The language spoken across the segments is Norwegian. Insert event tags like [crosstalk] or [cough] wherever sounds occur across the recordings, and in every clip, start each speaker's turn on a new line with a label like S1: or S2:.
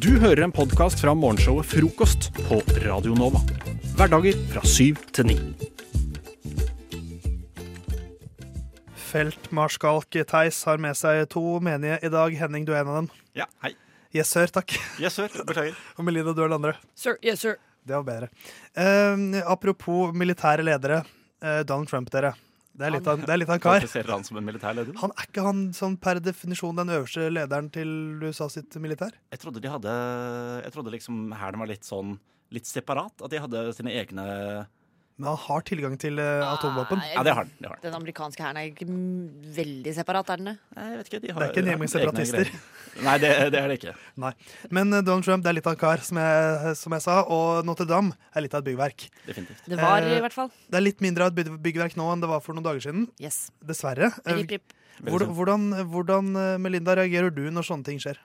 S1: Du hører en podkast fra morgenshowet Frokost på Radio Nova. Hverdager fra syv til ni.
S2: Feltmarskalk Theis har med seg to menige i dag. Henning, du er en av dem.
S3: Ja, hei.
S2: Yes, sir, takk. [laughs]
S3: Yes, sir. Beklager.
S2: Og Melina, du er den andre.
S4: Sir, yes, sir.
S2: Det var bedre. Eh, apropos militære ledere. Eh, Donald Trump, dere. Det er litt av, det er litt av en [laughs] kar.
S3: Kvalifiserer han som en militær leder?
S2: Han er ikke han sånn per definisjon den øverste lederen til USA sitt militær?
S3: Jeg trodde de hadde Jeg trodde liksom hæren var litt sånn litt separat. At de hadde sine egne
S2: Men han har tilgang til eh, atomvåpen.
S4: Nei,
S3: Ja, det har den. Det har den.
S4: Den amerikanske hæren er ikke mm, veldig separat, er den det?
S3: Jeg vet ikke, de har
S2: Det er ikke en gjeng med
S3: egne
S2: separatister.
S3: greier. Nei, det, det er det ikke.
S2: Nei. Men eh, Donald Trump det er litt av en kar, som jeg, som jeg sa. Og Notre-Dame er litt av et byggverk.
S3: Definitivt.
S4: Det var
S2: Eh,
S4: i hvert fall.
S2: Det er litt mindre av et bygg- byggverk nå enn det var for noen dager siden.
S4: Yes.
S2: Dessverre. Eh,
S4: Rip, rip.
S3: sånn.
S2: Hvordan, hvordan, hvordan, eh, Melinda, reagerer du når sånne ting skjer?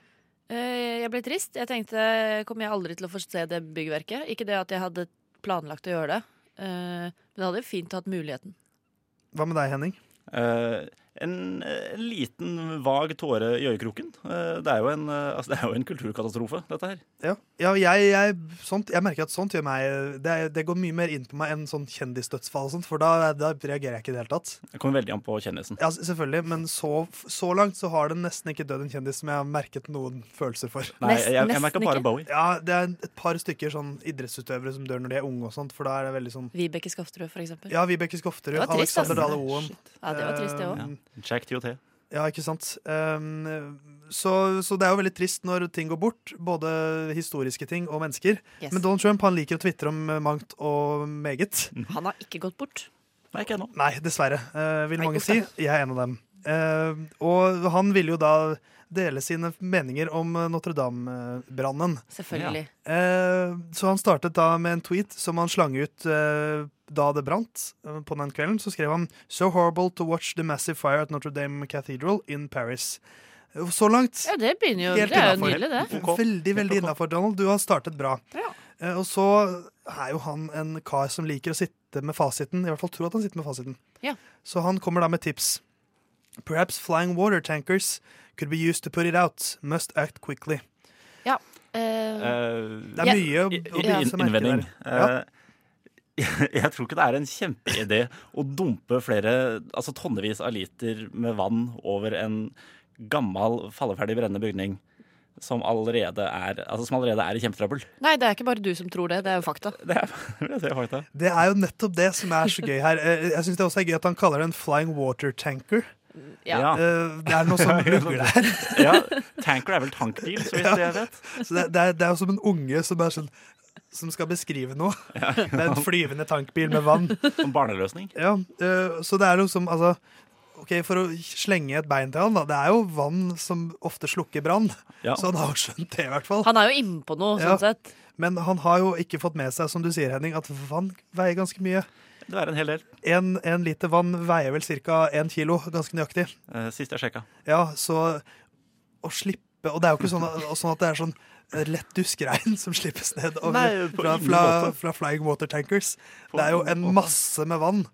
S4: Eh, Jeg ble trist. Jeg tenkte kommer jeg aldri til å få se det byggverket. Ikke det at jeg hadde planlagt å gjøre det, eh, men jeg hadde fint hatt muligheten.
S2: Hva med deg, Henning?
S3: Eh, en, en liten vag tåre i øyekroken. Eh, det, er jo en, eh, altså, det er jo en kulturkatastrofe, dette her.
S2: Ja, ja jeg, jeg, sånt, jeg merker at sånt gjør meg det, det går mye mer inn på meg enn sånn kjendisdødsfall og sånt, for da, da reagerer jeg ikke i det hele tatt.
S3: Det kommer veldig an på kjendisen.
S2: Ja, s- selvfølgelig, men så, så langt så har det nesten ikke dødd en kjendis som jeg har merket noen følelser for.
S3: Nei,
S4: Nesten-
S3: jeg, jeg merka
S4: nesten
S3: bare
S4: ikke.
S3: Bowie.
S2: Ja, det er et par stykker sånn idrettsutøvere som dør når de er unge og sånt, for da er det veldig sånn
S4: Vibeke Skofterud, for eksempel.
S2: Ja, Vibeke Skofterud,
S4: Det var trist,
S2: Alexander
S4: ass.
S2: Dale Oen.
S4: Shit. Ja, det var trist, det òg.
S3: Ja. Jack TOT.
S2: Ja, ikke sant. Ehm, så, så det er jo veldig trist når ting går bort, både historiske ting og mennesker.
S4: Yes.
S2: Eh, Men Donald Trump han liker å tvitre om eh, mangt og meget.
S4: Han har ikke gått bort.
S3: Nei, ikke ennå.
S2: Nei, dessverre, eh, vil
S4: Nei,
S2: mange
S4: uff
S2: si.
S4: da.
S2: Jeg er en av dem. Eh, og han ville jo da dele sine meninger om eh, Notre-Dame-brannen.
S4: Selvfølgelig.
S2: Eh, så han startet da med en tweet som han slang ut eh, da det brant. eh, På den kvelden så skrev han So horrible to watch the massive fire at Notre Dame Cathedral in Paris. Eh, Så langt.
S4: Ja, det begynner jo
S2: Helt
S4: Det er jo
S2: innenfor.
S4: nydelig, det.
S3: Ok.
S2: Veldig veldig innafor, Donald. Du har startet bra.
S4: Ja.
S2: Eh, Og så er jo han en kar som liker å sitte med fasiten. I hvert fall tror at han sitter med fasiten.
S4: Ja.
S2: Så han kommer da med tips. Perhaps flying water tankers could be used to put it out. Must act quickly.
S4: Eh,
S2: Det
S3: Eh,
S2: er
S4: Ja.
S2: mye å,
S3: i-
S2: å
S3: i-
S2: bite seg merke i
S3: innvending.
S2: der.
S3: Eh, [laughs] Jeg tror ikke det er en kjempeidé å dumpe flere, altså tonnevis av liter med vann over en gammel, falleferdig brennende bygning som allerede er, altså som allerede er i kjempetrøbbel.
S4: nei, det er ikke bare du som tror det. Det er jo fakta.
S3: Det er, [laughs] vil jeg si, fakta.
S2: Det er jo nettopp det som er så gøy her. Eh, Jeg syns det også er gøy at han kaller det en flying water tanker.
S4: Ja.
S2: Eh, Det er noe som lugger der.
S3: ja, tanker er vel tankbil, så vidt jeg vet.
S2: Så det, det, er, det er jo som en unge som er sånn som skal beskrive noe. Det er en flyvende tankbil med vann.
S3: Som barneløsning.
S2: Ja, eh, så det er jo som altså, Ok, For å slenge et bein til han, da. Det er jo vann som ofte slukker brann.
S3: Ja.
S2: Så han har jo skjønt det, i hvert fall.
S4: Han er jo innpå noe,
S2: Ja.
S4: sånn sett.
S2: Men han har jo ikke fått med seg, som du sier, Henning, at vann veier ganske mye.
S3: Det er en hel del.
S2: En, en liter vann veier vel ca. én kilo, ganske nøyaktig.
S3: Eh, Sist jeg sjekka.
S2: Ja, så å slippe Og det er jo ikke sånn, at- sånn at det er sånn lett duskregn som slippes ned over,
S3: Nei, på
S2: fra,
S3: ingen
S2: fra,
S3: måte.
S2: fra flying water tankers.
S3: På
S2: Det er jo
S3: ingen
S2: en
S3: måte.
S2: masse med vann.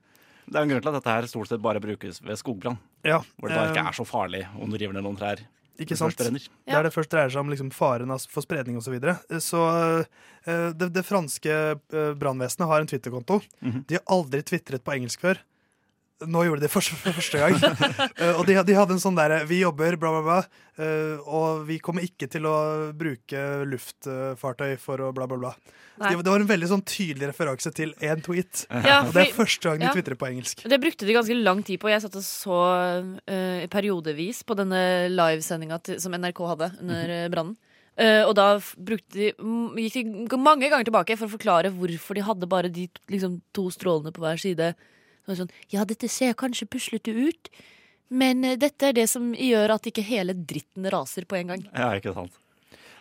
S3: Det er en grunn til at dette her stort sett bare brukes ved skogbrann.
S2: Ja,
S3: Hvor det da ikke
S2: eh,
S3: er så farlig om du river ned noen trær.
S2: ikke
S3: når det først
S2: sant?
S3: brenner.
S4: Ja.
S2: Der det først dreier seg om liksom faren av- for spredning osv. Så, videre. så eh, det, det franske eh, brannvesenet har en Twitter-konto. De har aldri tvitret på engelsk før. Nå gjorde de det for, for første gang. Eh, og de, de hadde en sånn derre Vi jobber, bla, bla, bla. eh, og vi kommer ikke til å bruke luftfartøy for å bla, bla, bla.
S4: Nei.
S2: Det, det var en veldig sånn tydelig referanse til én tweet.
S4: Ja,
S2: Og det er
S4: fordi,
S2: første gang de
S4: ja.
S2: tvitrer på engelsk.
S4: det brukte de ganske lang tid på. Jeg satt og så eh, periodevis på denne livesendinga til- som NRK hadde under eh, brannen. Eh, og da f- brukte de, m- gikk de g- mange ganger tilbake for å forklare hvorfor de hadde bare de t- liksom, to strålene på hver side. Så var det sånn, ja, dette ser kanskje puslete ut, men eh, dette er det som gjør at ikke hele dritten raser på en gang.
S3: Ja, ikke sant.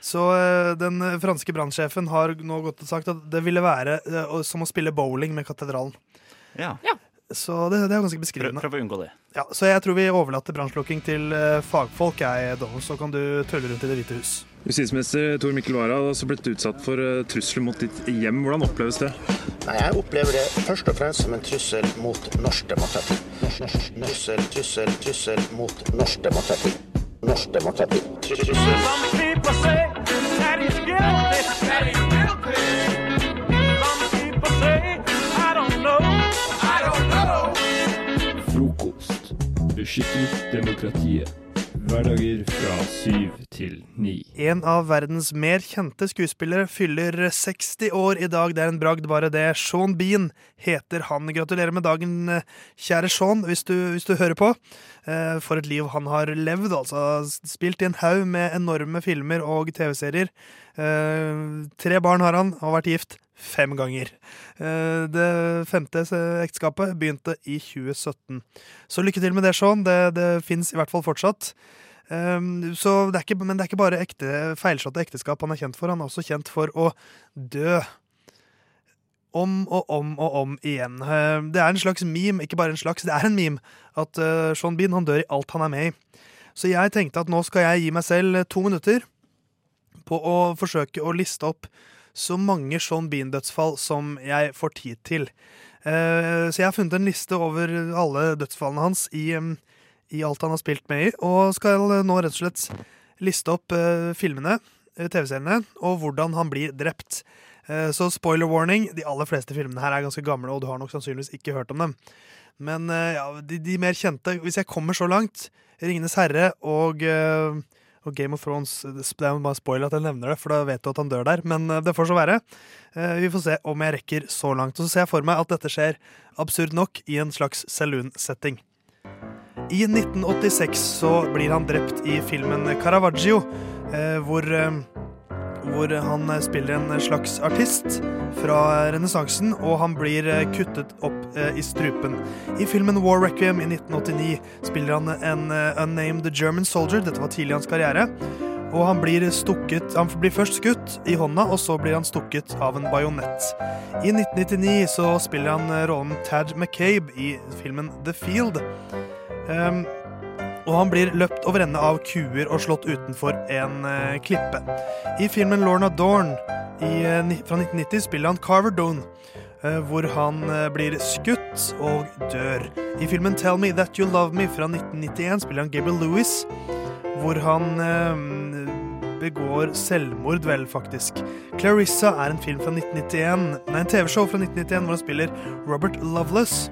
S2: Så eh, den eh, franske brannsjefen har nå gått og sagt at det ville være eh, å- som å spille bowling med katedralen.
S3: Ja.
S2: Så det, det er ganske
S3: Prøv,
S2: beskrivende.
S3: prøv å unngå det.
S2: Ja, så jeg tror vi overlater brannslukking til eh, fagfolk, jeg, Donald. Så kan du tølle rundt i Det hvite hus.
S5: Justisminister Tor Mikkel Wara har også blitt utsatt for eh, trusler mot ditt hjem. Hvordan oppleves det?
S6: Nei, Jeg opplever det først og fremst som en trussel mot norsk demokrati. Trussel, trussel, trussel mot norsk demokrati. Norsk demokrati. Trussel.
S7: Some people say that beskyttet demokratiet. Hverdager fra syv til ni.
S2: En av verdens mer kjente skuespillere fyller 60 år i dag. Det er en bragd, bare det. Sean Bean heter han. Gratulerer med dagen, eh, kjære Sean, hvis du, hvis du hører på. Eh, For et liv han har levd, altså. Spilt i en haug med enorme filmer og TV-serier. Eh, Tre barn har han, og vært gift fem ganger. Eh, Det femte eh, ekteskapet begynte i 2017. Så lykke til med det, Sean. Det, det fins i hvert fall fortsatt. Um, så det er ikke, men det er ikke bare ekte, feilslåtte ekteskap han er kjent for. Han er også kjent for å dø. Om og om og om igjen. Eh, Det er en slags meme, ikke bare en slags, det er en meme, at eh, Sean Bean han dør i alt han er med i. Så jeg tenkte at nå skal jeg gi meg selv eh, to minutter på å forsøke å liste opp så mange Sean Bean-dødsfall som jeg får tid til. Eh, Så jeg har funnet en liste over alle dødsfallene hans i ehm, em, i alt han har spilt med i, og skal nå rett og slett liste opp eh, filmene, eh, TV-seriene, og hvordan han blir drept. Eh, så spoiler warning, de aller fleste filmene her er ganske gamle, og du har nok sannsynligvis ikke hørt om dem. Men eh, ja, de, de mer kjente, hvis jeg kommer så langt, Ringenes herre og, eh, og Game of Thrones eh, Det er jo bare spoiler at jeg nevner det, for da vet du at han dør der, men eh, det får så være. Eh, vi får se om jeg rekker så langt. Og så ser jeg for meg at dette skjer, absurd nok, i en slags saloon-setting. I 1986 så blir han drept i filmen Caravaggio, eh, hvor, eh, hvor han spiller en slags artist fra renessansen, og han blir eh, kuttet opp eh, i strupen. I filmen War Requiem i 1989 spiller han en eh, unnamed German soldier, dette var tidlig i hans karriere, og han blir, stukket, han blir først skutt i hånda, og så blir han stukket av en bajonett. I 1999 så spiller han eh, rollen Tad McCabe i filmen The Field. Um, og han blir løpt over ende av kuer og slått utenfor en eh, klippe. I filmen Lorna Dorn i, eh, ni- fra 1990 spiller han Carver Doan, eh, hvor han eh, blir skutt og dør. I filmen Tell Me That You Love Me fra 1991 spiller han Gabriel Lewis, hvor han eh, begår selvmord, vel, faktisk. Clarissa er en film fra 1991, nei, en TV-show fra 1991 hvor han spiller Robert Loveless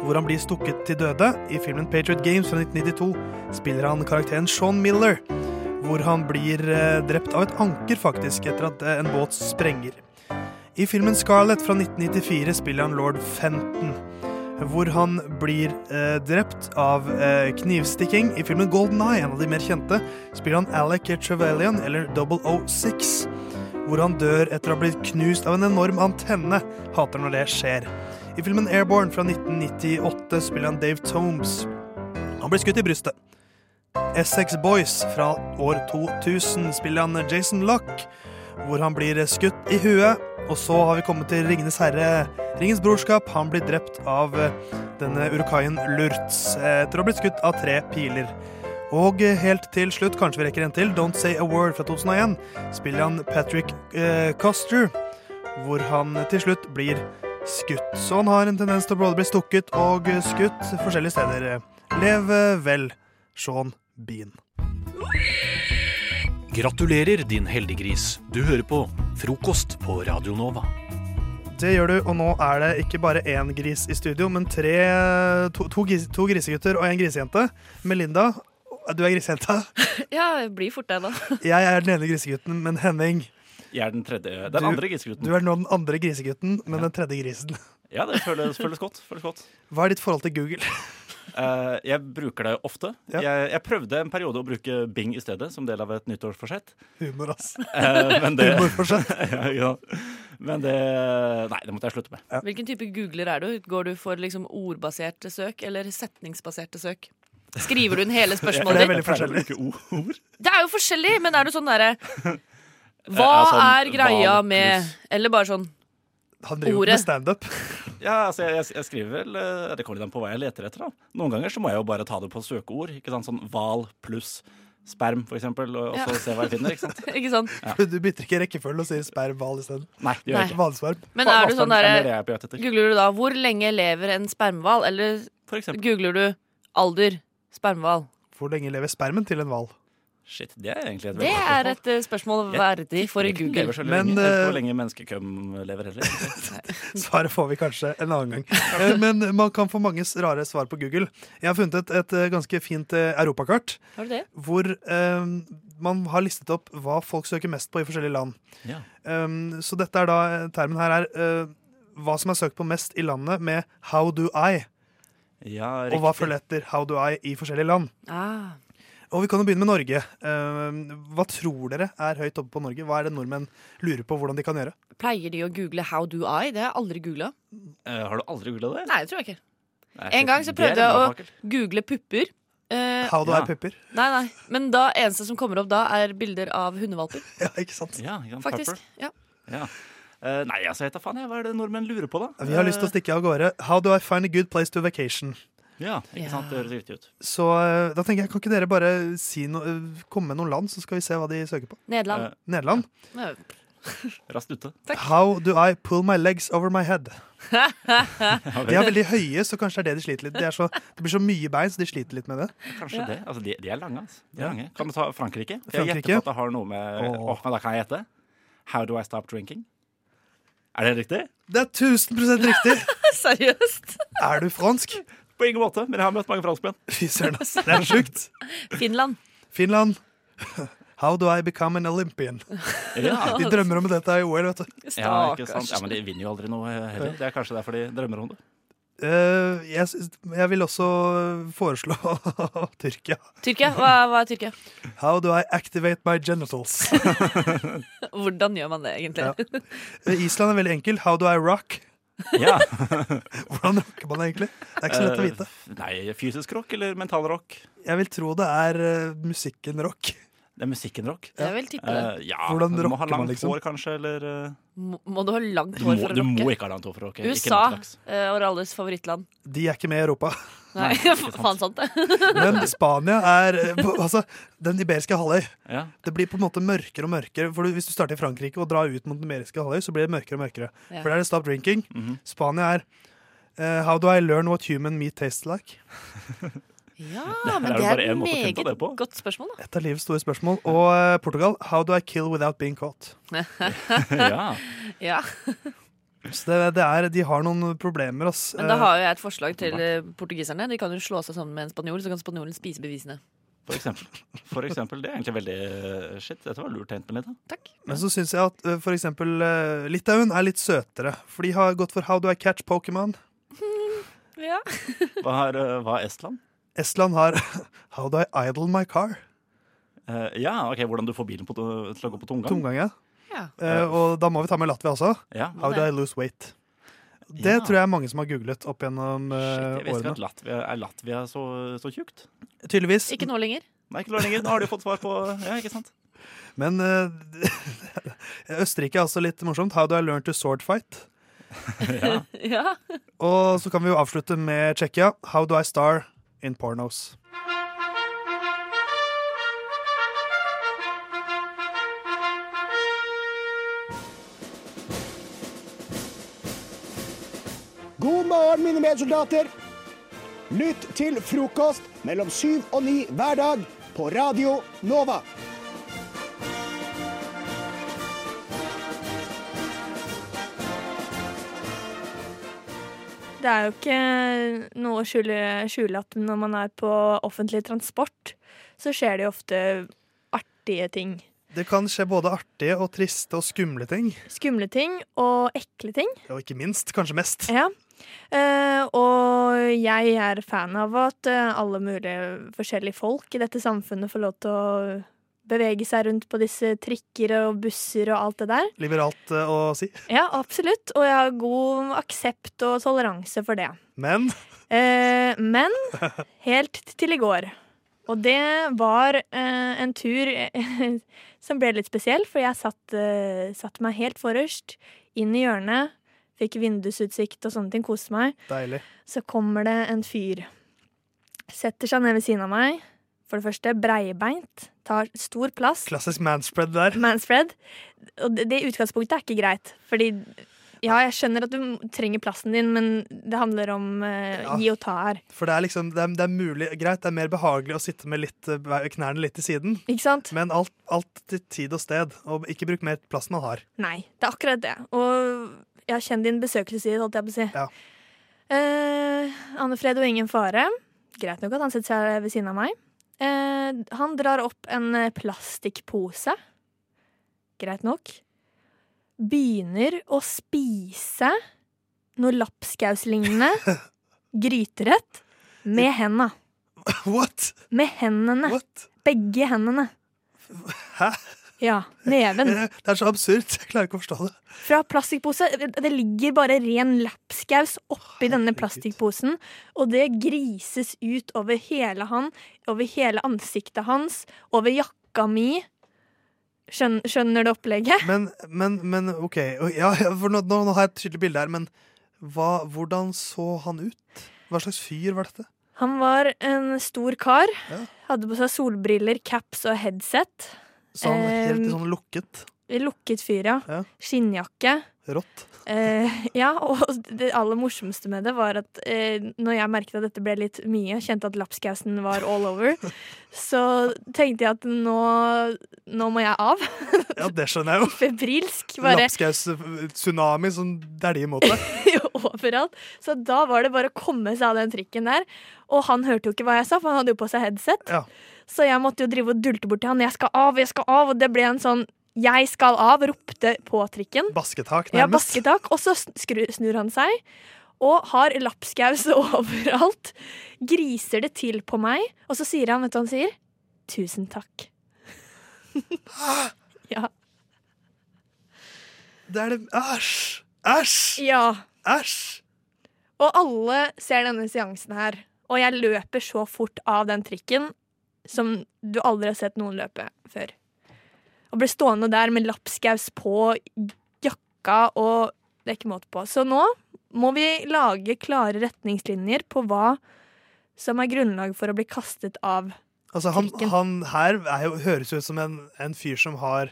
S2: hvor han blir stukket til døde. I filmen Patriot Games fra 1992 spiller han karakteren Sean Miller, hvor han blir eh, drept av et anker, faktisk, etter at eh, en båt sprenger. I filmen Scarlett fra 1994 spiller han lord Fenton, hvor han blir eh, drept av eh, knivstikking. I filmen Golden Eye, en av de mer kjente, spiller han Alec Trevelyan, eller 006, hvor han dør etter å ha blitt knust av en enorm antenne. Hater når det skjer. I filmen Airborne fra 1998 spiller han Dave Tomes. Han blir skutt i brystet. Essex Boys fra år 2000 spiller han Jason Lock, hvor han blir skutt i huet. Og så har vi kommet til Ringenes herre, Ringens brorskap. Han blir drept av eh, denne urkaien Lurtz etter å ha blitt skutt av tre piler. Og eh, helt til slutt, kanskje vi rekker en til, Don't Say A Word fra 2001, spiller han Patrick eh, Coster, hvor han til slutt blir skutt. Så han har en tendens til å både bli stukket og skutt forskjellige steder. Lev vel, Sean Bean.
S1: Gratulerer, din heldiggris. Du hører på Frokost på Radio Nova.
S2: Det gjør du, og nå er det ikke bare én gris i studio, men tre, to, to, gris, to grisegutter og en grisejente. Melinda, du er grisejenta.
S4: [laughs] Ja, blir fort [laughs] det, da.
S2: Jeg er den ene grisegutten, men Henning,
S3: Jeg er den tredje, den
S2: Du-
S3: andre
S2: du
S3: grisgruten.
S2: er nå den andre grisegutten, men den tredje grisen.
S3: Ja, det føles, føles godt. Føles godt.
S2: Hva er ditt forhold til Google?
S3: Eh, jeg bruker det ofte.
S2: Ja.
S3: Jeg, jeg prøvde en periode å bruke Bing i stedet, som del av et
S2: [laughs]
S3: nyttårsforsett.
S2: Humor, ass.
S3: Eh, men det,
S2: Humor fortsatt.
S3: [laughs] ja, men det Nei, det måtte jeg slutte med.
S4: Hvilken type googler er du? Går du for liksom ordbaserte søk eller setningsbaserte søk? Skriver du inn [laughs] hele
S2: Det er
S4: spørsmålet ditt?
S2: veldig forskjellig.
S3: Jeg pleier å bruke ord.
S4: Det er jo forskjellig, men er du sånn
S3: [laughs]
S4: derre Hva
S3: Jeg er sånn
S4: er greia
S3: val
S4: med
S3: pluss.
S4: Eller bare sånn [laughs]
S2: Han driver jo
S4: Ordet.
S2: ikke med standup.
S3: Ja, altså jeg, jeg, jeg skriver vel eh, Det kommer litt an på hva jeg leter etter. da Noen ganger så må jeg jo bare ta det på søkeord. Ikke sant? Sånn hval pluss sperm, for eksempel, og, og så
S4: Ja.
S3: se hva jeg finner. Ikke
S4: [laughs]
S3: sant?
S4: Ikke sant?
S2: Du bytter ikke rekkefølge og sier sperm hval isteden.
S3: Nei, det gjør jeg
S4: Nei.
S3: ikke.
S2: Hvalsvarm.
S4: Men er du sånn
S3: Avstand er
S4: derre
S3: det jeg er på jakt etter.
S4: Googler du da 'Hvor lenge lever en spermhval?' Eller
S3: For eksempel.
S4: googler du 'alder spermhval'?
S2: Hvor lenge lever spermen til en hval?
S3: Shit, det er egentlig et veldig
S4: Det
S3: godt
S4: er
S3: spørsmål.
S4: et eh, spørsmål verdig for
S3: Jeg vet ikke om de
S4: Google.
S3: lever så
S2: Men,
S3: lenge, jeg vet ikke
S2: eh,
S3: hvor lenge menneskekøm lever heller.
S2: [laughs] Svaret får vi kanskje en annen gang. Eh, Men man kan få mange rare svar på Google. Jeg har funnet et, et eh, ganske fint eh, europakart
S4: Har du det?
S2: hvor eh, man har listet opp hva folk søker mest på i forskjellige land.
S3: Ja.
S2: Um, så dette er da termen her er eh, hva som er søkt på mest i landet med 'how do I',
S3: Ja,
S2: og hva følger etter 'how do I' i forskjellige land.
S4: Ah.
S2: Og vi kan jo begynne med Norge. Um, hva tror dere er høyt oppe på Norge? Hva er det nordmenn lurer på hvordan de kan gjøre?
S4: Pleier de å google 'How do I'? Det har jeg aldri googla.
S3: Eh, Har du aldri googla det?
S4: Nei, det tror jeg ikke.
S3: Nei,
S4: En gang så
S3: det
S4: prøvde
S3: er en
S4: jeg å-
S3: brannfakkel.
S4: Google pupper. Eh,
S2: How do
S3: ja.
S2: I pupper?
S4: nei, nei. Men da eneste som kommer opp da, er bilder av hundevalper.
S2: [laughs] Ja, ikke sant?
S3: Ja, Jan
S4: Faktisk.
S3: Pepper.
S4: Ja.
S3: Ja. Eh, Nei, altså, jeg vet da faen, jeg. Hva er det nordmenn lurer på, da?
S2: Vi har lyst til å stikke av gårde. How do I find a good place to vacation?
S3: Ja, ikke
S4: Ja.
S3: sant? Det høres riktig ut.
S2: Så eh, da tenker jeg, kan ikke dere bare si no eh, komme med noen land, så skal vi se hva de søker på?
S4: Nederland.
S2: Nederland.
S3: Eh.
S4: Ja.
S3: Raskt ute.
S2: How do I pull my legs over my head? De er veldig høye, så kanskje det er det de sliter litt. Det, er så, det blir så mye bein, så de sliter litt med det.
S3: Kanskje det. Altså, de, de er lange, altså. De er lange. Kan du ta Frankrike? Jeg
S2: Frankrike?
S3: gjetter på at det har noe med
S2: Åh.
S3: Åh, men da kan jeg gjette. How do I stop drinking? Er det riktig?
S2: Det er 1000 riktig!
S4: [laughs] Seriøst?
S2: Er du fransk?
S3: På ingen måte, men jeg har møtt mange
S4: [laughs]
S3: franskmenn.
S2: Fy søren, ass. Det er sjukt.
S4: Finland.
S2: Finland. [laughs] How do I become an Olympian?
S3: Ja,
S2: De drømmer om dette i OL, vet du.
S3: ja, ikke sant? ja,
S4: Stakkars.
S3: men de vinner jo aldri noe heller. Det er kanskje derfor de drømmer om det.
S2: Eh, jeg, syns- jeg vil også foreslå [laughs] Tyrkia.
S4: Tyrkia? Hva, hva er Tyrkia?
S2: How do I activate my genitals? [laughs]
S4: Hvordan gjør man det, egentlig?
S2: Ja. Eh, Island er veldig enkel. How do I rock?
S3: Ja.
S2: Hvordan rocker man egentlig? Det er ikke så lett å vite.
S3: Eh, Nei, fysisk rock eller mental rock?
S2: Jeg vil tro det er eh, musikken rock.
S3: Det er musikken rock.
S4: Jeg vil tippe det.
S3: Eh, ja,
S2: Hvordan
S3: du må ha
S2: rocker man,
S3: langt
S2: liksom?
S3: hår, kanskje, eller eh,
S4: Må, må du ha
S3: du,
S4: langt hår
S3: må,
S4: for
S3: du
S4: å
S3: må
S4: rocke?
S3: ikke ha langt hår for å rocke. Ikke
S4: USA
S3: noe slags.
S4: eh, og alles favorittland.
S2: De er ikke med i Europa. [laughs]
S4: Nei, [laughs] faen sant det.
S2: Men Spania er eh, på- altså, den iberiske halvøy.
S3: Ja.
S2: Det blir på en måte mørkere og mørkere. For du- Hvis du starter i Frankrike og drar ut mot den iberiske halvøy, så blir det mørkere og mørkere.
S4: Ja. Mhm.
S2: For der er det stop drinking. Spania er eh, How do I learn what human meat tastes like?
S4: Ja, men
S3: er
S4: det
S3: jo
S4: er
S3: bare
S4: et
S3: en måte å finne
S4: meget
S3: på det på.
S4: godt spørsmål, da.
S2: Et av livets store spørsmål. Og eh, Portugal How do I kill without being caught?
S3: [laughs] ja. [laughs]
S4: Ja.
S2: Så det, det er, de har noen problemer, ass.
S4: Men da
S2: Eh,
S4: har jo jeg et forslag til eh, portugiserne. De kan jo slå seg sammen med en spanjol, så kan spanjolen spise bevisene.
S3: For eksempel. For eksempel. Det er egentlig veldig eh, Shit, dette var lurt tegn på litt. Da.
S4: Takk.
S2: Men så syns jeg at eh, for eksempel eh, Litauen er litt søtere. For de har gått for How do I catch Pokémon?
S4: Ja.
S3: Hva har eh, hva er Estland?
S2: Estland har [laughs] How do I idle my car?
S3: Eh, ja, ok, Hvordan du får bilen på, til å gå på tomgang?
S2: Tomgang, ja.
S4: Ja.
S2: Eh, og da må vi ta med Latvia også.
S3: Ja.
S2: How do I lose weight? Det
S3: Ja.
S2: tror jeg er mange som har googlet opp gjennom
S3: Shit,
S2: eh,
S3: jeg visste ikke
S2: årene.
S3: at Latvia er Latvia så, så tjukt.
S2: Tydeligvis.
S4: Ikke nå lenger.
S3: Nei, ikke lenger. Nå har de jo fått svar på Ja, ikke sant?
S2: Men eh, [laughs] Østerrike er også litt morsomt. How do I learn to sword fight?
S3: Ja.
S4: Ja.
S2: Og så kan vi jo avslutte med Tsjekkia. How do I star in pornos?
S8: God morgen, mine medsoldater. Lytt til frokost mellom syv og ni hver dag på Radio Nova.
S9: Det er jo ikke noe å skjule, skjule at når man er på offentlig transport, så skjer det jo ofte artige ting.
S2: Det kan skje både artige og triste og skumle ting.
S9: Skumle ting og ekle ting.
S2: Og ikke minst, kanskje mest.
S9: Ja. Eh, og jeg er fan av at eh, alle mulige forskjellige folk i dette samfunnet får lov til å bevege seg rundt på disse trikker og busser og alt det der.
S2: Liberalt eh, å si.
S9: Ja, absolutt. Og jeg har god aksept og toleranse for det.
S2: Men
S9: Eh, men helt til i går. Og det var eh, en tur eh, [laughs] som ble litt spesiell, for jeg satt, eh, satt meg helt forrest inn i hjørnet. Fikk vindusutsikt og sånne ting, koste meg.
S2: deilig.
S9: Så kommer det en fyr. Setter seg ned ved siden av meg. For det første breibeint. Tar stor plass.
S2: Klassisk manspread der.
S9: Manspread. Og det, det i utgangspunktet er ikke greit, fordi Ja, jeg skjønner at du trenger plassen din, men det handler om eh,
S2: Ja.
S9: gi og ta her.
S2: For det er liksom, det er, det er mulig, greit, det er mer behagelig å sitte med litt, eh, knærne litt til siden,
S9: Ikke sant?
S2: men alt, alt til tid og sted. Og ikke bruk mer plass enn man har. [laughs]
S9: Nei, det er akkurat det. Og ja, kjenn din besøkelsestid, holdt jeg på å si.
S2: Ja.
S9: Eh, Anne Fred og ingen fare. Greit nok at han sitter her ved siden av meg. Eh, han drar opp en eh, plastikkpose. Greit nok. Begynner å spise noe
S2: [laughs]
S9: lapskauslignende gryterett med henda.
S2: What?
S9: Med hendene.
S2: What?
S9: Begge hendene.
S2: Hæ?
S9: Ja. Neven.
S2: Eh, Det er så absurd. Jeg klarer ikke å forstå det.
S9: Fra plastikkpose. Det ligger bare ren lapskaus oppi denne plastikkposen, og det grises ut over hele han, over hele ansiktet hans, over jakka mi. Skjønner, skjønner du opplegget?
S2: Men, men, men OK. Ja, ja, for nå, nå, nå har jeg et tydelig bilde her, men hva, hvordan så han ut? Hva slags fyr var dette?
S9: Han var en stor kar.
S2: Ja.
S9: Hadde på seg solbriller, caps og headset.
S2: Så han
S9: Eh,
S2: helt sånn lukket?
S9: Lukket fyr, ja.
S2: Ja.
S9: Skinnjakke.
S2: Rått?
S9: Eh, ja, og det aller morsomste med det var at eh, når jeg merket at dette ble litt mye, kjente at lapskausen var all over, så tenkte jeg at nå, nå må jeg av. [laughs]
S2: Ja, det skjønner jeg jo.
S9: Febrilsk. Bare
S2: Lapskaus-tsunami som dæljer mot deg.
S9: [laughs] overalt. Så da var det bare å komme seg av den trikken der. Og han hørte jo ikke hva jeg sa, for han hadde jo på seg headset.
S2: Ja.
S9: Så jeg måtte jo drive og dulte bort til han. Jeg skal av, jeg skal av. Og det ble en sånn 'jeg skal av' ropte på trikken.
S2: Basketak,
S9: Ja,
S2: nærmest.
S9: basketak. Og så skru, snur han seg og har lapskaus [laughs] overalt. Griser det til på meg, og så sier han, vet du hva han sier? Tusen takk. ja.
S2: Det er det Æsj! Æsj!
S9: ja.
S2: Æsj!
S9: Og alle ser denne seansen her. Og jeg løper så fort av den trikken som du aldri har sett noen løpe før. Og ble stående der med lapskaus på jakka og det er ikke måte på. Så nå må vi lage klare retningslinjer på hva som er grunnlag for å bli kastet av.
S2: Altså, han,
S9: Trikken.
S2: han her er jo, høres ut som en, en fyr som har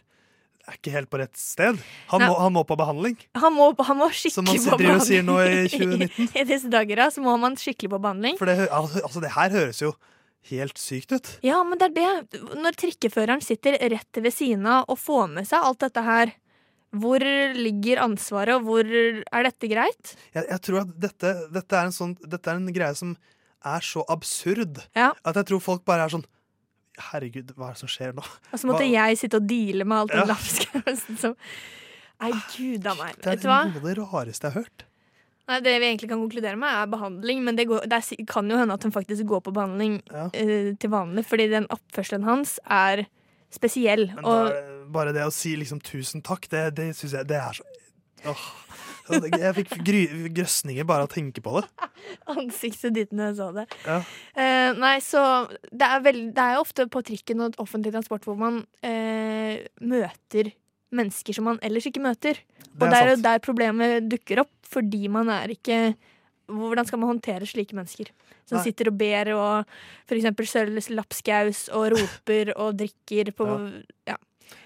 S2: er ikke helt på rett sted. Han,
S9: Nei.
S2: må, han må på behandling.
S9: Han må, han må skikkelig
S2: Som man
S9: på
S2: driver og sier nå i
S9: behandling.
S2: 2019.
S9: [laughs] I disse dager ja, så må man skikkelig på behandling.
S2: For det, hø- al- altså, det her høres jo helt sykt ut.
S9: Ja, men det er det. Når trikkeføreren sitter rett ved siden av og får med seg alt dette her, hvor ligger ansvaret, og hvor er dette greit?
S2: Jeg, jeg tror at dette, dette, er en sånn, dette er en greie som er så absurd
S9: Ja.
S2: at jeg tror folk bare er sånn Herregud, hva er det som skjer nå?
S9: Og så måtte
S2: Hva-
S9: jeg sitte og deale med alt
S2: Ja.
S9: den lapskausen som Nei, gud a meg.
S2: Det
S9: Vet
S2: er
S9: du hva?
S2: noe av det rareste jeg har hørt.
S9: Nei, det vi egentlig kan konkludere med, er behandling. Men det, går, det er, si- kan jo hende at hun faktisk går på behandling
S2: Ja.
S9: eh, til vanlig, fordi den oppførselen hans er spesiell.
S2: Men
S9: Og
S2: da, bare det å si liksom tusen takk, det, det syns jeg det er så Åh. Altså, Jeg fikk gry, grøsninger bare av å tenke på det.
S9: ansiktet ditt når jeg så det.
S2: Ja.
S9: Eh, nei, så det er, vel, det er jo ofte på trikken og offentlig transport hvor man eh, møter mennesker som man ellers ikke møter.
S2: er
S9: og det er jo
S2: sant.
S9: der problemet dukker opp, fordi man er ikke Hvordan skal man håndtere slike mennesker? Som
S2: Nei.
S9: sitter og ber og f.eks. sølves lapskaus og roper og drikker på ja.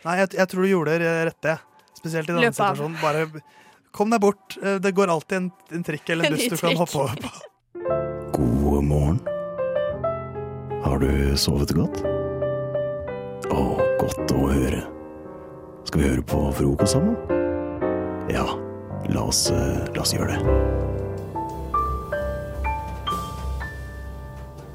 S2: Nei, jeg, jeg tror du gjorde det rette. Spesielt i denne
S9: Løp av.
S2: situasjonen. Bare kom deg bort. Eh, Det går alltid en, en trikk eller
S9: [laughs] En
S2: en buss
S9: ny
S2: du kan
S9: trikk.
S2: hoppe over på.
S10: God morgen. Har du sovet godt? Å, godt å høre. Skal vi høre på frokost sammen? Ja, la oss, eh, la oss gjøre det.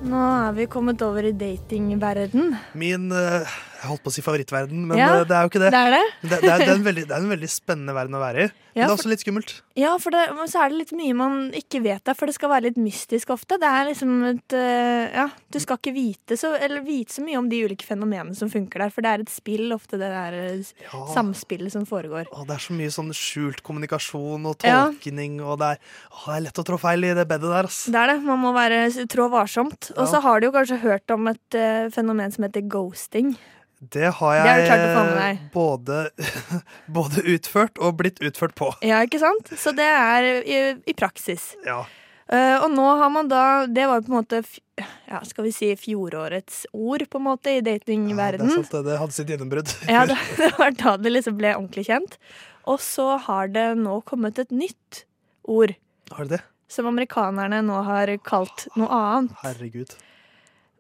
S9: Nå er vi kommet over i datingverden.
S2: Min eh, Jeg holdt på å si favorittverden, men
S9: Ja,
S2: eh, det er jo ikke det.
S9: Det er det.
S2: Det, det, er, det, er en veldig, det er en veldig spennende verden å være i. Men det
S9: Ja,
S2: er
S9: for-
S2: også litt skummelt.
S9: Ja, for det, men så er det litt mye man ikke vet der, for det skal være litt mystisk ofte. Det er liksom et eh, Ja, du skal ikke vite så, eller vite så mye om de ulike fenomenene som funker der, for det er et spill ofte, det der eh, s-
S2: Ja.
S9: samspillet som foregår.
S2: Å, det er så mye sånn skjult kommunikasjon og
S9: Ja.
S2: tolkning, og det er, å, det er lett å trå feil i det bedet der. Ass.
S9: Det er det. Man må være s- trå varsomt. Og
S2: Ja.
S9: så har du jo kanskje hørt om et eh, fenomen som heter ghosting.
S2: Det har
S9: Det har du
S2: jeg
S9: klart å få med
S2: eh, både, [laughs] både utført og blitt utført på.
S9: Ja, ikke sant? Så det er i, i praksis.
S2: Ja.
S9: Eh, og nå har man da Det var jo på en måte f- ja, skal vi si fjorårets ord, på en måte, i
S2: Ja, det, er
S9: datingverden. [laughs]
S2: sant, det. det hadde sitt gjennombrudd.
S9: Ja, det, det var da det liksom ble ordentlig kjent. Og så har det nå kommet et nytt ord.
S2: [laughs] Har det det?
S9: Som amerikanerne nå har kalt noe annet.
S2: Herregud.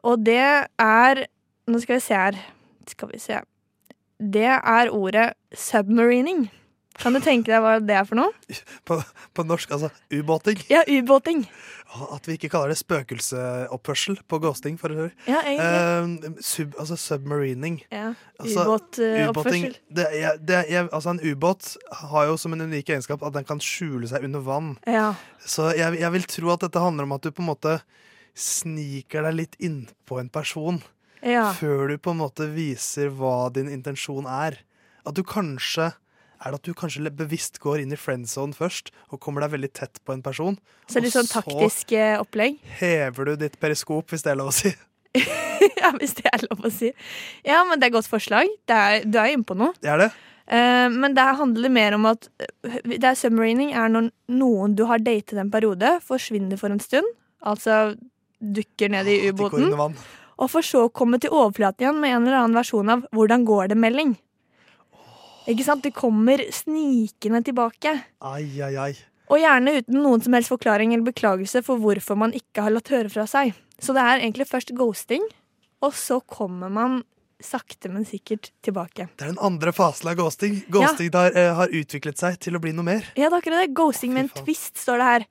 S9: Og det er Nå skal vi se her. Skal vi se. Det er ordet submarining. Kan du tenke deg hva det er for noe?
S2: På, på norsk, altså. Ubåting.
S9: Ja, ubåting.
S2: At vi ikke kaller det spøkelseoppførsel på ghosting. For å høre.
S9: Ja, egentlig.
S2: Eh, sub, altså submarining.
S9: Ja, eh,
S2: Altså,
S9: Ubåtoppførsel.
S2: ubåting, det, er- det, er- altså En ubåt har jo som en unik egenskap at den kan skjule seg under vann.
S9: Ja.
S2: Så jeg, jeg vil tro at dette handler om at du på en måte sniker deg litt innpå en person
S9: Ja.
S2: før du på en måte viser hva din intensjon er. At du kanskje er det at du kanskje le- bevisst går inn i friend zone først og kommer deg veldig tett på en person.
S9: Så litt
S2: og
S9: sånn taktisk eh, opplegg. [laughs]
S2: hever du ditt periskop, hvis det er lov å si.
S9: ja, hvis det er lov å si. Ja, men det er godt forslag. Det er, du er inne på noe.
S2: Det er det.
S9: Eh, men det handler mer om at eh, det er submarining er når noen du har datet en periode, forsvinner for en stund. Altså dukker ned i
S2: Ah, De går
S9: ubåten.
S2: under vann.
S9: Og for så å komme til overflaten igjen med en eller annen versjon av 'hvordan går det?'-melding. Ikke sant? Det kommer snikende tilbake.
S2: Ai, ai, ai.
S9: Og gjerne uten noen som helst forklaring eller beklagelse for hvorfor man ikke har latt høre fra seg. Så det er egentlig først ghosting, og så kommer man sakte, men sikkert tilbake.
S2: Det er den andre fasen av ghosting. Ghosting der, eh, har utviklet seg til å bli noe mer.
S9: Ja, det er akkurat det. Ghosting med en twist, står det her.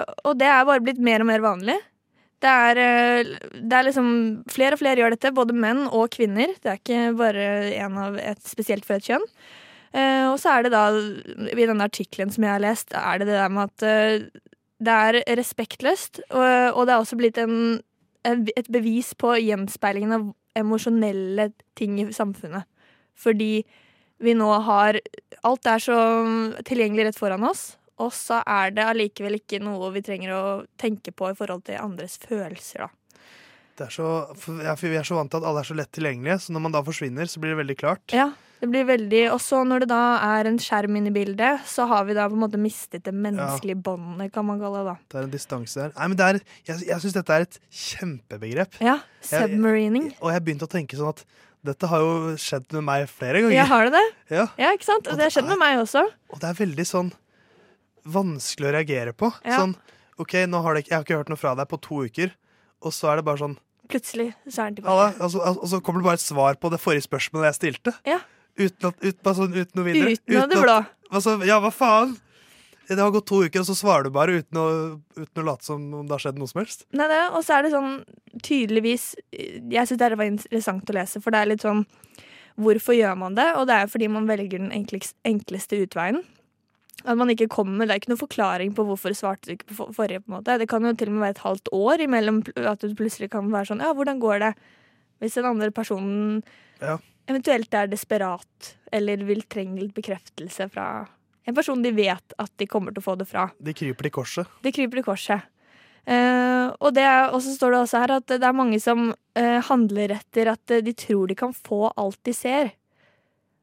S9: Eh, og det er bare blitt mer og mer vanlig. Det er, eh, det er liksom Flere og flere gjør dette, både menn og kvinner. Det er ikke bare en av et spesielt for et kjønn. Eh, og så er det da, i denne artikkelen som jeg har lest, er det det der med at eh, det er respektløst, og, og det er også blitt en, en, et bevis på gjenspeilingen av emosjonelle ting i samfunnet. Fordi vi nå har Alt er så mm, tilgjengelig rett foran oss, og så er det allikevel ikke noe vi trenger å tenke på i forhold til andres følelser, da.
S2: Det er så, for, ja, for vi er så vant til at alle er så lett tilgjengelige, så når man da forsvinner, så blir det veldig klart.
S9: Ja, det blir veldig Og så når det da er en skjerm inne i bildet, så har vi da på en måte mistet det menneskelige båndet, kan man kalle det, da.
S2: Det er en distanse der. Nei, men det er, jeg jeg syns dette er et kjempebegrep.
S9: Ja,
S2: Jeg-
S9: Submarining.
S2: Og jeg begynte å tenke sånn at dette har jo skjedd med meg flere ganger.
S9: Ja, har det det?
S2: Ja.
S9: Ja, ikke sant? Og det har skjedd med meg også.
S2: Og det er veldig sånn vanskelig å reagere på.
S9: Ja.
S2: Sånn OK, nå har det, ikke- jeg har ikke hørt noe fra deg på to uker, og så er det bare sånn
S9: Plutselig så er den
S2: Halla,
S9: tilbake.
S2: altså, al- og så kommer det bare et svar på det forrige spørsmålet jeg stilte.
S9: Ja.
S2: Uten, at, ut, bare sånn, uten noe videre.
S9: Uten av det blå.
S2: at- Altså, ja, hva faen? Det har gått to uker, og så svarer du bare uten å, uten å late som om det har skjedd noe som helst.
S9: Nei, det, og så er det sånn tydeligvis Jeg syns dette var interessant å lese, for det er litt sånn Hvorfor gjør man det? Og det er fordi man velger den enklest, enkleste utveien. At man ikke kommer med, Det er ikke noen forklaring på hvorfor svarte du ikke på for- forrige. på en måte. Det kan jo til og med være et halvt år imellom pl- at du plutselig kan være sånn Ja, hvordan går det? Hvis den andre personen
S2: Ja.
S9: eventuelt er desperat eller vil trenge litt bekreftelse fra en person de vet at de kommer til å få det fra.
S2: De kryper til korset.
S9: Det kryper i korset. Eh, og, det er, og så står det også her at det er mange som eh, handler etter at eh, de tror de kan få alt de ser.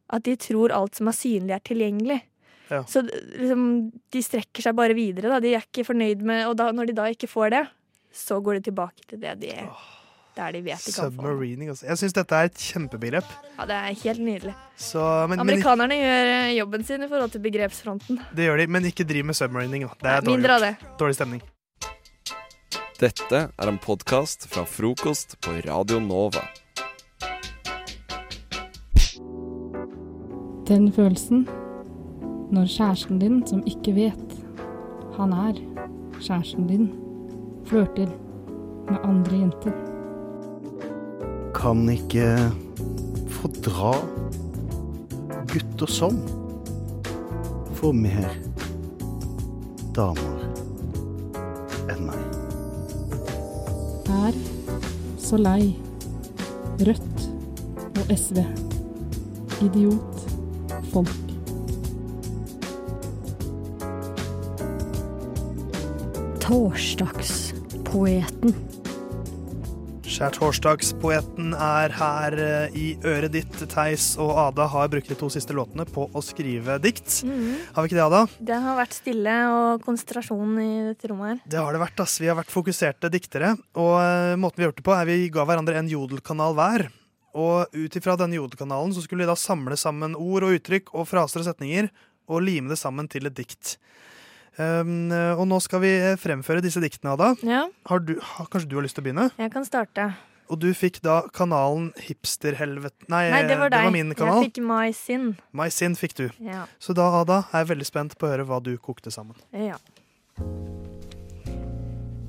S9: At de tror alt som er synlig, er tilgjengelig.
S2: Ja.
S9: Så d- liksom, de strekker seg bare videre. Da. De er ikke fornøyd med Og da, når de da ikke får det, så går de tilbake til det de der de vet de kan få.
S2: Submarining. Altså. Jeg syns dette er et kjempebegrep.
S9: Ja, det er helt nydelig.
S2: Så, men, men,
S9: Amerikanerne gjør eh, jobben sin i forhold til begrepsfronten.
S2: det gjør de, men ikke driv med submarining. Da. Det er dårlig,
S9: Mindre av
S2: gjort.
S9: det.
S2: dårlig stemning.
S11: Dette er en podkast fra frokost på Radio Nova.
S12: Den følelsen når kjæresten din, som ikke vet han er kjæresten din, flørter med andre jenter.
S6: Kan ikke fordra gutter som får mer damer enn meg.
S12: Er så lei Rødt og SV. Idiot. Folk.
S13: Torsdagspoeten.
S2: Skjærtorsdagspoeten er her eh, i øret ditt. Theis og Ada har brukt de to siste låtene på å skrive dikt.
S9: Mhm.
S2: Har vi ikke det, Ada?
S9: Det har vært stille og konsentrasjon i dette rommet her.
S2: Det har det vært. ass. Vi har vært fokuserte diktere. Og eh, måten vi har gjort det på, er vi ga hverandre en jodelkanal hver. Og ut ifra denne jodekanalen så skulle de da samle sammen ord og uttrykk og fraser og setninger og lime det sammen til et dikt. Um, og nå skal vi eh, fremføre disse diktene, Ada.
S9: Ja.
S2: Har du, har, kanskje du har lyst til å begynne?
S9: Jeg kan starte.
S2: Og du fikk da kanalen Hipsterhelvete Nei,
S9: Nei, det var deg.
S2: Eh, min kanal.
S9: Jeg fikk My Sin.
S2: My Sin fikk du.
S9: Ja.
S2: Så da, Ada, er jeg veldig spent på å høre hva du kokte sammen.
S9: Ja.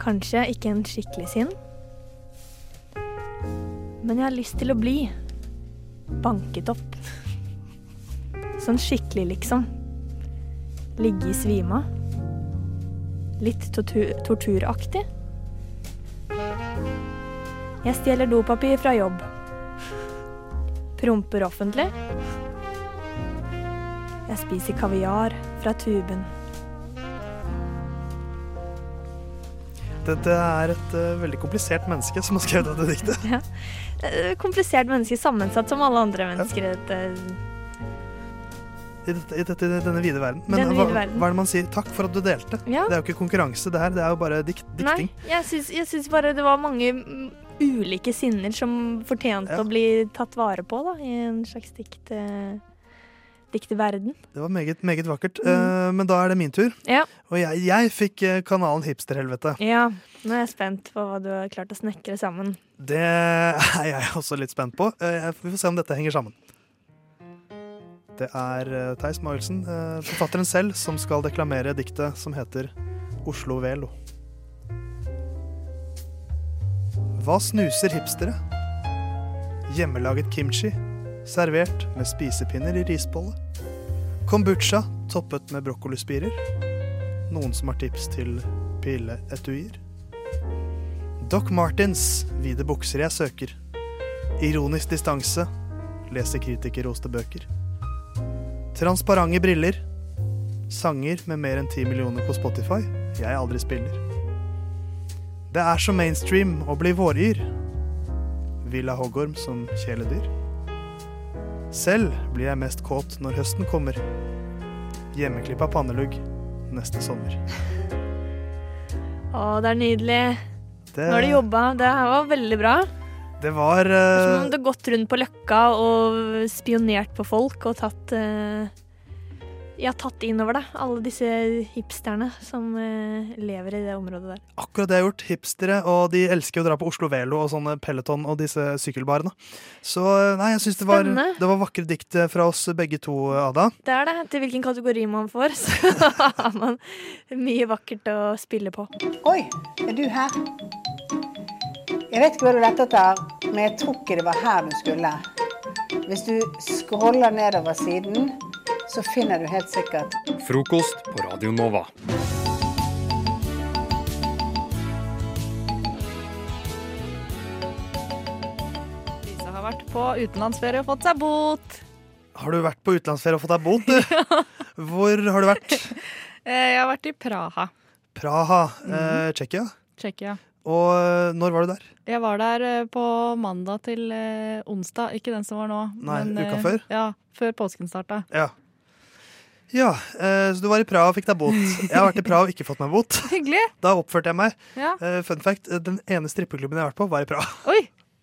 S9: Kanskje ikke en skikkelig sinn. Men jeg har lyst til å bli banket opp. Sånn skikkelig, liksom. Ligge i svima. Litt tortu torturaktig. Jeg stjeler dopapir fra jobb. Promper offentlig. Jeg spiser kaviar fra tuben.
S2: Dette er et eh, veldig komplisert menneske som har skrevet dette diktet.
S9: Ja. Eh, Komplisert menneske sammensatt som alle andre mennesker. eh, Dette-
S2: I, dette, i, dette, i denne vide verden. Men
S9: Denne
S2: hva,
S9: vide verden.
S2: hva er det man sier? Takk for at du delte.
S9: Ja.
S2: Det er jo ikke konkurranse, det her. Det er jo bare dikt,
S9: Nei,
S2: dikting.
S9: jeg syns, jeg syns bare det var mange mm, ulike sinner som fortjente
S2: Ja.
S9: å bli tatt vare på da, i en slags dikt, eh, dikteverden.
S2: Det var meget, meget vakkert. Eh, men da er det min tur.
S9: Mm. Ja.
S2: Og jeg, jeg fikk eh, kanalen Hipsterhelvete.
S9: Ja, nå er jeg spent på hva du har klart å snekre sammen.
S2: Det er jeg også litt spent på. Eh, Vi får se om dette henger sammen. Det er eh, Theis Magelsen, eh, forfatteren selv, som skal deklamere diktet som heter Oslo Velo. Hva snuser hipstere? Hjemmelaget kimchi, servert med spisepinner i risbolle. Kombucha toppet med brokkolispirer. Noen som har tips til pilleetuier. Doc Martens, hvite bukser jeg søker. Ironisk distanse, leser kritikerroste bøker. Transparente briller. Sanger med mer enn ti millioner på Spotify jeg aldri spiller. Det er så mainstream å bli våryr. Villa hoggorm som kjæledyr. Selv blir jeg mest kåt når høsten kommer. Hjemmeklippa pannelugg neste sommer.
S9: Å, det er nydelig.
S2: Det-
S9: Nå har du jobba. Det her var veldig bra.
S2: Det var
S9: Det er
S2: eh,
S9: Som om du har gått rundt på Løkka og spionert på folk og tatt eh, Ja, tatt innover deg alle disse hipsterne som eh, lever i det området der.
S2: akkurat det jeg har gjort. Hipstere, og de elsker å dra på Oslo Velo og sånne Peloton og disse sykkelbarene. Så eh, nei, jeg syns det var,
S9: Spennende.
S2: det var vakre dikt eh, fra oss begge to, Ada.
S9: Det er det. Til hvilken kategori man får, [laughs] så har man mye vakkert å spille på.
S13: Oi, er du her? Jeg vet ikke hva du lette etter, men jeg tror ikke det var her du skulle. Hvis du scroller nedover siden, så finner du helt sikkert
S14: Frokost på Radio Nova.
S15: Lisa har vært på utenlandsferie og fått seg bot.
S2: Har du vært på utenlandsferie og fått deg
S15: [laughs]
S2: bot? du? Hvor har du vært?
S15: Eh, Jeg har vært i Praha,
S2: Praha, eh, Tsjekkia.
S15: Tsjekkia.
S2: Og eh, når var du der?
S15: Jeg var der eh, på mandag til eh, onsdag. Ikke den som var nå.
S2: Nei,
S15: men,
S2: uka
S15: eh,
S2: før?
S15: Ja, før påsken starta.
S2: Ja. Ja, eh, så du var i Praha og fikk
S15: [laughs]
S2: deg bot. Jeg har vært i Praha og ikke fått meg bot.
S15: Hyggelig.
S2: Da oppførte jeg meg.
S15: Ja.
S2: Eh, fun fact, eh, den ene strippeklubben jeg har vært på, var i Praha.
S15: Oi,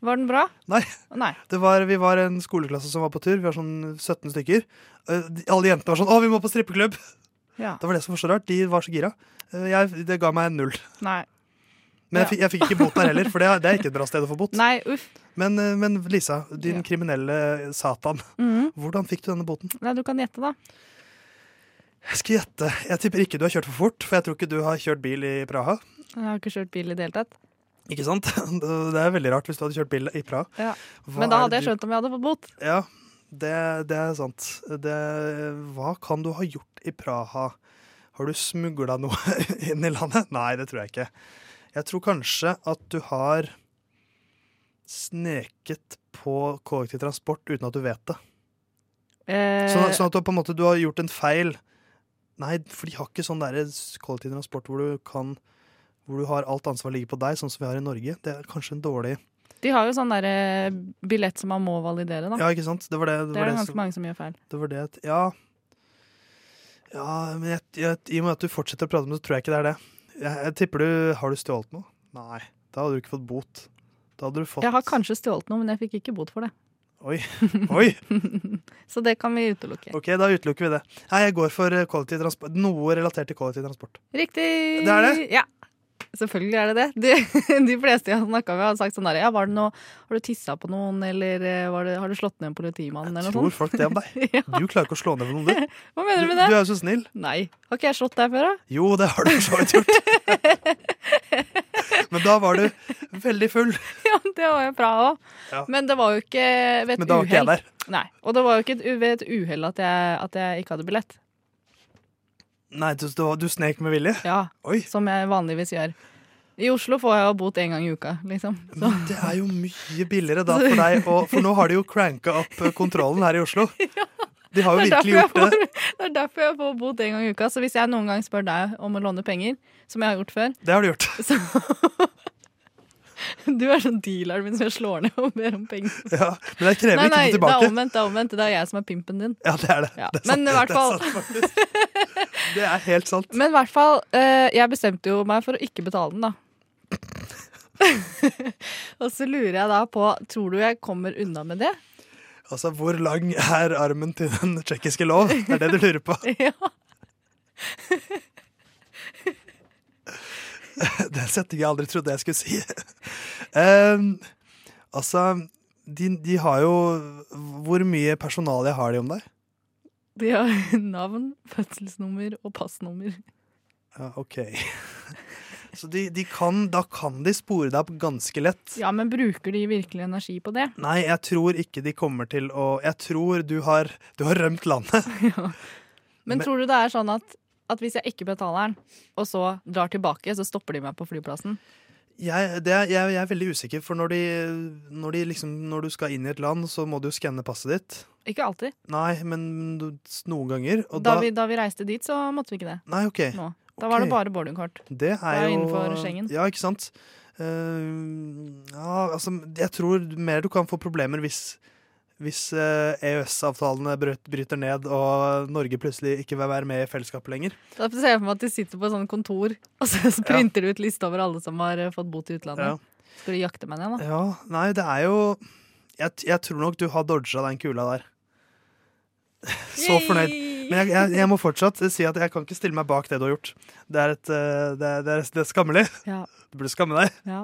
S15: var den bra?
S2: Nei.
S15: Nei.
S2: Det var, vi var en skoleklasse som var på tur. Vi var sånn 17 stykker. Eh, de- Alle jentene var sånn 'Å, vi må på strippeklubb!'
S15: Ja.
S2: Det var det som var så rart. De var så gira. Eh, Jeg, det ga meg null.
S15: Nei.
S2: Men jeg, fikk- jeg fikk ikke bot der heller, for det, er- det er ikke et bra sted å få bot.
S15: Nei, uff.
S2: Men, eh, men Lisa, din kriminelle satan.
S15: Mhm.
S2: Hvordan fikk du denne boten?
S15: Nei, du kan gjette, da.
S2: Jeg skal gjette. Jeg tipper ikke du har kjørt for fort, for jeg tror ikke du har kjørt bil i Praha.
S15: Jeg har ikke kjørt bil i det hele tatt.
S2: Ikke sant? [laughs] Det er veldig rart hvis du hadde kjørt bil i Praha.
S15: Ja.
S2: Hva
S15: Men da
S2: er
S15: hadde
S2: det
S15: jeg
S2: du-
S15: skjønt om jeg hadde fått bot.
S2: Ja, det, det er sant. Det, hva kan du ha gjort i Praha? Har du smugla noe [laughs] inn i landet? Nei, det tror jeg ikke. Jeg tror kanskje at du har sneket på kollektivtransport uten at du vet det. Sånn,
S15: Eh,
S2: sånn at du, på en måte, du har gjort en feil. Nei, for de har ikke sånn der kollektivtransport hvor du kan hvor du har alt ansvar ligger på deg, sånn som vi har i Norge. Det er kanskje en dårlig
S15: De har jo sånn der, eh, billett som man må validere, da.
S2: Ja, ikke sant? Det var
S15: Det
S2: det, var
S15: er det
S2: det
S15: ganske
S2: som-
S15: mange som gjør feil.
S2: Det var det at Ja. Ja, men jeg, jeg, i og med at du fortsetter å prate om det, så tror jeg ikke det er det. Jeg, jeg tipper du Har du stjålet noe? Nei. Da hadde du ikke fått bot. Da hadde du fått
S15: Jeg har kanskje stjålet noe, men jeg fikk ikke bot for det.
S2: Oi. Oi.
S4: Så det kan vi utelukke.
S2: OK, da utelukker vi det. Nei, jeg går for eh, kollektivtransport. Noe relatert til kollektivtransport.
S4: Riktig!
S2: Det er det?
S4: Ja. Selvfølgelig er det det. De, [laughs] de fleste jeg har snakka med, har sagt sånn der, ja, var det noe, Har du tissa på noen, eller eh, var det, har du slått ned en politimann, eller noe
S2: Tror
S4: sånt?
S2: folk
S4: [laughs]
S2: det om deg? Du klarer ikke å slå ned for noen, du.
S4: Hva mener du med
S2: Du
S4: det?
S2: er jo så snill.
S4: Nei. Har ikke jeg slått deg før, da? [laughs]
S2: Jo, det har du for så vidt gjort. Men da var du veldig full.
S4: Ja, det var jo bra òg.
S2: Ja.
S4: Men det var jo ikke ved et
S2: Men da var ikke jeg
S4: uhell. Nei. Og det var jo ikke et- ved et uhell at, jeg- at jeg ikke hadde billett.
S2: Nei, du, du, du snek med vilje?
S4: Ja,
S2: Oi.
S4: Som jeg vanligvis gjør. I Oslo får jeg jo bot én gang i uka, liksom. Så.
S2: Det er jo mye billigere da for deg, og, for nå har de jo cranka opp eh, kontrollen her i
S4: [laughs]
S2: Oslo. De har jo
S4: Det er
S2: virkelig
S4: derfor
S2: gjort
S4: jeg
S2: det.
S4: får- Det er derfor jeg får bot en gang i uka. Så hvis jeg noen gang spør deg om å låne penger, som jeg har gjort før
S2: Det har du gjort.
S4: [laughs] Du er sånn dealeren min som jeg slår ned og ber om penger.
S2: Ja, men jeg krever
S4: nei,
S2: ikke
S4: nei,
S2: noe
S4: det er
S2: tilbake.
S4: omvendt. Det er omvendt. Det er jeg som er pimpen din.
S2: Ja, det er det.
S4: Ja,
S2: det er
S4: men i hvert
S2: det er
S4: fall-
S2: sant, faktisk. Det er helt sant.
S4: Men i hvert fall, eh, jeg bestemte jo meg for å ikke betale den, da. [laughs] og så lurer jeg da på Tror du jeg kommer unna med det? [laughs]
S2: Altså, hvor lang er armen til den tsjekkiske lov? Det er det du lurer
S4: [laughs]
S2: på.
S4: Ja.
S2: Den setningen jeg aldri trodde jeg skulle si. Em, altså, de, de har jo Hvor mye personale har de om deg?
S4: De har [laughs] navn, fødselsnummer og passnummer.
S2: Ja, OK. [laughs] Så de, de kan, da kan de spore deg opp ganske lett.
S4: Ja, men bruker de virkelig energi på det?
S2: Nei, jeg tror ikke de kommer til å Jeg tror du har, du har rømt landet.
S4: Men,
S2: Men-
S4: tror du det er sånn at, at hvis jeg ikke betaler den, og så drar tilbake, så stopper de meg på flyplassen?
S2: Jeg, det, er- jeg, jeg er veldig usikker, for når, de, når, de liksom, når du skal inn i et land, så må du skanne passet ditt.
S4: Ikke alltid.
S2: Nei, men du- noen ganger. Og
S4: da,
S2: da,
S4: vi, da vi reiste dit, så måtte vi ikke det.
S2: Nei, ok.
S4: Nå. Da
S2: Ok.
S4: var det bare boardingkort.
S2: det
S4: Da er
S2: er
S4: vi
S2: jo
S4: innenfor Schengen.
S2: Ja, ikke sant? Eh, ja, altså, jeg tror mer du kan få problemer hvis, hvis eh, EØS-avtalene brøt- bryter ned og Norge plutselig ikke vil være med i fellesskapet lenger.
S4: Da ser jeg for meg at de sitter på et sånt kontor, [laughs] og så printer de ut liste over alle som har eh, fått bot i
S2: Ja.
S4: utlandet. Skal de jakte meg ned, da?
S2: Ja, nei, det er jo Jeg, jeg tror nok du har dodga den kula der. Så fornøyd. Men jeg, jeg, jeg må fortsatt si at jeg kan ikke stille meg bak det du har gjort. Det er, et, eh, det er, det er, det er skammelig.
S4: Ja.
S2: Du burde skamme deg.
S4: Ja.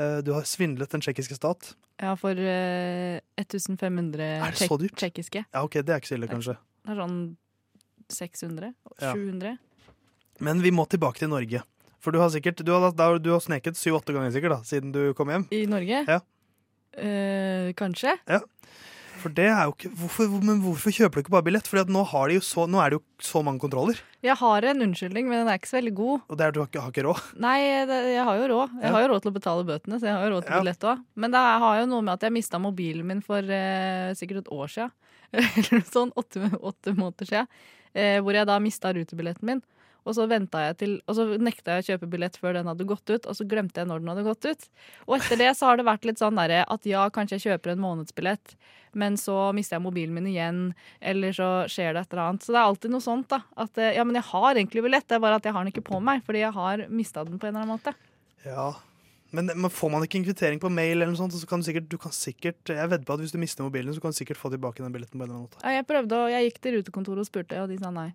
S2: Eh, Du har svindlet den tsjekkiske stat.
S4: Ja, for eh, 1500
S2: Er det så dyrt?
S4: tsjekkiske.
S2: Ja, ok, Det er ikke så ille, kanskje.
S4: Det er sånn 600?
S2: Ja.
S4: 700?
S2: Men vi må tilbake til Norge. For du har sikkert, du har, da- du har sneket syv-åtte ganger sikkert da, siden du kom hjem.
S4: I Norge?
S2: Ja.
S4: Eh, kanskje?
S2: For det er jo ikke, hvorfor, Men hvorfor kjøper du ikke bare billett? Fordi at nå, har de jo så, nå er det jo så mange kontroller.
S4: Jeg har en unnskyldning, men den er ikke så veldig god.
S2: Og det er du har ikke, har ikke råd.
S4: Nei, det, jeg har jo råd. Jeg
S2: Ja.
S4: har jo råd til å betale bøtene, så jeg har jo råd til
S2: Ja.
S4: billett òg. Men det har jo noe med at jeg mista mobilen min for eh, sikkert et år sia. [laughs] Eller noe sånn åtte, åtte måneder sia. Eh, hvor jeg da mista rutebilletten min. Og så, ventet jeg til, og så nekta jeg å kjøpe billett før den hadde gått ut, og så glemte jeg når den hadde gått ut. Og etter det så har det vært litt sånn derre at ja, kanskje jeg kjøper en månedsbillett, men så mister jeg mobilen min igjen, eller så skjer det et eller annet. Så det er alltid noe sånt, da. At eh, ja, men jeg har egentlig billett, det er bare at jeg har den ikke på meg, fordi jeg har mista den på en eller annen måte.
S2: Ja, men, men får man ikke en kvittering på mail, eller noe sånt, så kan du sikkert, du kan sikkert Jeg vedder på at hvis du mister mobilen, så kan du sikkert få tilbake den billetten. på en eller annen måte.
S4: Ja, Jeg prøvde, og jeg gikk til rutekontoret og spurte, og de sa nei.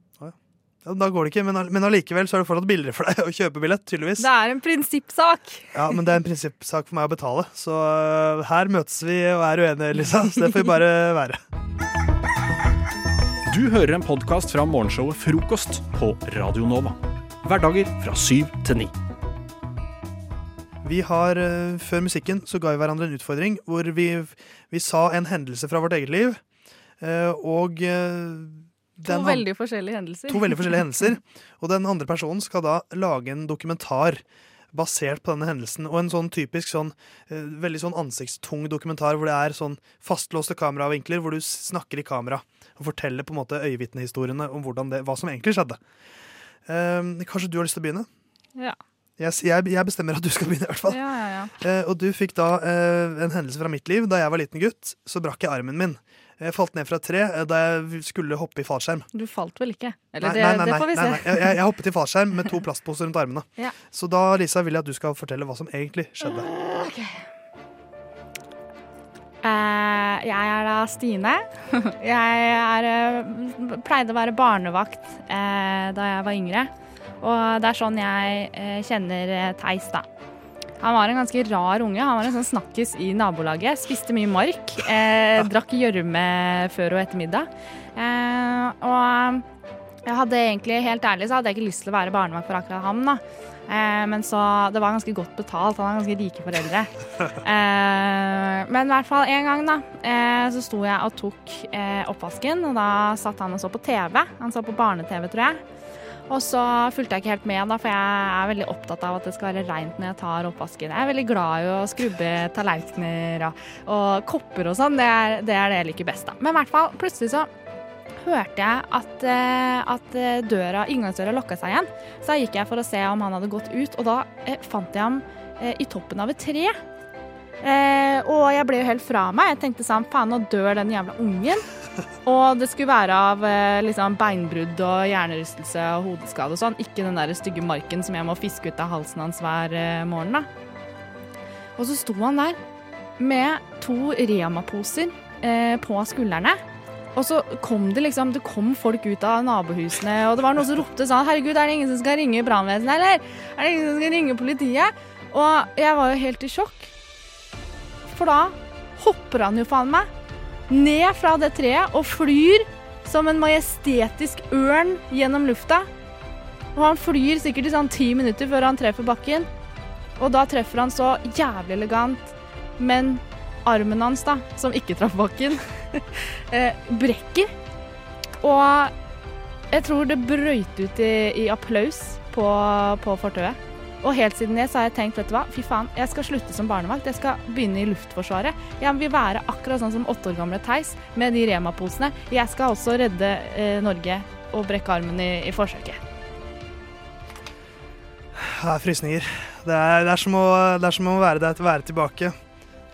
S2: Ja, da går det ikke, men, all- men allikevel så er det fortsatt billigere for deg å kjøpe billett, tydeligvis.
S4: Det er en prinsippsak!
S2: Ja, Men det er en prinsippsak for meg å betale, så øh, her møtes vi og er uenige, Lisa. Så det får vi bare være.
S1: Du hører en podkast fra morgenshowet Frokost på Radio Nova. Hverdager fra syv til ni.
S2: Vi har, øh, Før musikken så ga vi hverandre en utfordring hvor vi, vi sa en hendelse fra vårt eget liv. øh, og øh,
S4: To
S2: den han-
S4: veldig forskjellige hendelser.
S2: To veldig forskjellige hendelser. Og den andre personen skal da lage en dokumentar basert på denne hendelsen. Og en sånn typisk sånn eh, veldig sånn ansiktstung dokumentar hvor det er sånn fastlåste kameravinkler, hvor du s- snakker i kamera og forteller på en måte øyevitnehistoriene om hvordan det, hva som egentlig skjedde. Eh, kanskje du har lyst til å begynne?
S4: Ja.
S2: Jeg, s- jeg, jeg bestemmer at du skal begynne. i hvert fall.
S4: Ja, ja, ja.
S2: Eh, og du fikk da eh, en hendelse fra mitt liv. Da jeg var liten gutt, så brakk jeg armen min. Jeg falt ned fra et tre eh, da jeg skulle hoppe i fallskjerm.
S4: Du falt vel ikke? Eller
S2: Nei,
S4: det,
S2: nei, nei,
S4: det får
S2: nei,
S4: vi se.
S2: nei, nei. Jeg, jeg- jeg hoppet i fallskjerm med to plastposer rundt armene.
S4: [laughs] Ja.
S2: Så da Lisa, vil jeg at du skal fortelle hva som egentlig skjedde.
S16: Eh, jeg er da Stine. [laughs] jeg er, eh, pleide å være barnevakt eh, da jeg var yngre. Og det er sånn jeg eh, kjenner eh, Theis, da. Han var en ganske rar unge. Han var en sånn snakkis i nabolaget. Spiste mye mark. Eh, drakk gjørme før og etter middag. Eh, og jeg hadde egentlig, helt ærlig, så hadde jeg ikke lyst til å være barnevakt for akkurat ham, da. Eh, men så Det var ganske godt betalt. Han har ganske rike foreldre. Eh, men i hvert fall en gang, da, eh, så sto jeg og tok eh, oppvasken, og da satt han og så på TV. Han så på barne-TV, tror jeg. Og så fulgte jeg ikke helt med, da, for jeg er veldig opptatt av at det skal være reint når jeg tar oppvasken. Jeg er veldig glad i å skrubbe tallerkener og, og kopper og sånn. Det er, det er det jeg liker best, da. Men i hvert fall, plutselig så hørte jeg at, eh, at eh, døra, inngangsdøra lokka seg igjen. Så da gikk jeg for å se om han hadde gått ut, og da eh, fant jeg ham eh, i toppen av et tre. Eh, og jeg ble jo helt fra meg. Jeg tenkte sånn, faen, nå dør den jævla ungen. Og det skulle være av eh, liksom beinbrudd og hjernerystelse og hodeskade og sånn. Ikke den der stygge marken som jeg må fiske ut av halsen hans hver eh, morgen, da. Og så sto han der med to Rema-poser eh, på skuldrene. Og så kom det liksom, det kom folk ut av nabohusene, og det var noen som ropte sånn Herregud, er det ingen som skal ringe brannvesenet, eller? Er det ingen som skal ringe politiet? Og jeg var jo helt i sjokk. For da hopper han jo faen meg ned fra det treet og flyr som en majestetisk ørn gjennom lufta. Og han flyr sikkert i sånn ti minutter før han treffer bakken. Og da treffer han så jævlig elegant, men armen hans, da, som ikke traff bakken, [laughs] eh, brekker. Og jeg tror det brøyt ut i, i applaus på, på fortauet. Og helt siden det så har jeg tenkt, vet du hva, fy faen, jeg skal slutte som barnevakt. Jeg skal begynne i Luftforsvaret. Jeg vil være akkurat sånn som åtte år gamle Theis med de Rema-posene. Jeg skal også redde eh, Norge og brekke armen i, i forsøket.
S2: Det er frysninger. Det er, det er, som, å, det er som å være der være tilbake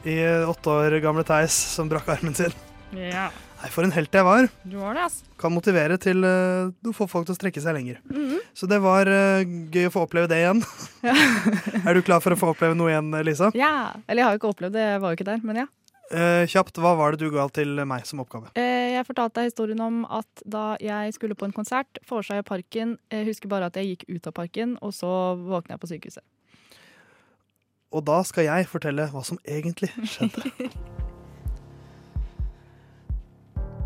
S2: i åtte år gamle Theis som brakk armen sin.
S15: Ja.
S2: Nei, for en helt jeg var.
S15: Du var det, altså.
S2: Kan motivere til eh, å få folk til å strekke seg lenger.
S4: Mhm.
S2: Så det var eh, gøy å få oppleve det igjen. [laughs] er du klar for å få oppleve noe igjen, Lisa?
S15: Ja. Eller jeg har jo ikke opplevd det, jeg var jo ikke der, men ja.
S2: Eh, kjapt, hva var det du ga til meg som oppgave?
S15: Eh, Jeg fortalte deg historien om at da jeg skulle på en konsert, forsa jeg parken, jeg husker bare at jeg gikk ut av parken, og så våkna jeg på sykehuset.
S2: Og da skal jeg fortelle hva som egentlig skjedde.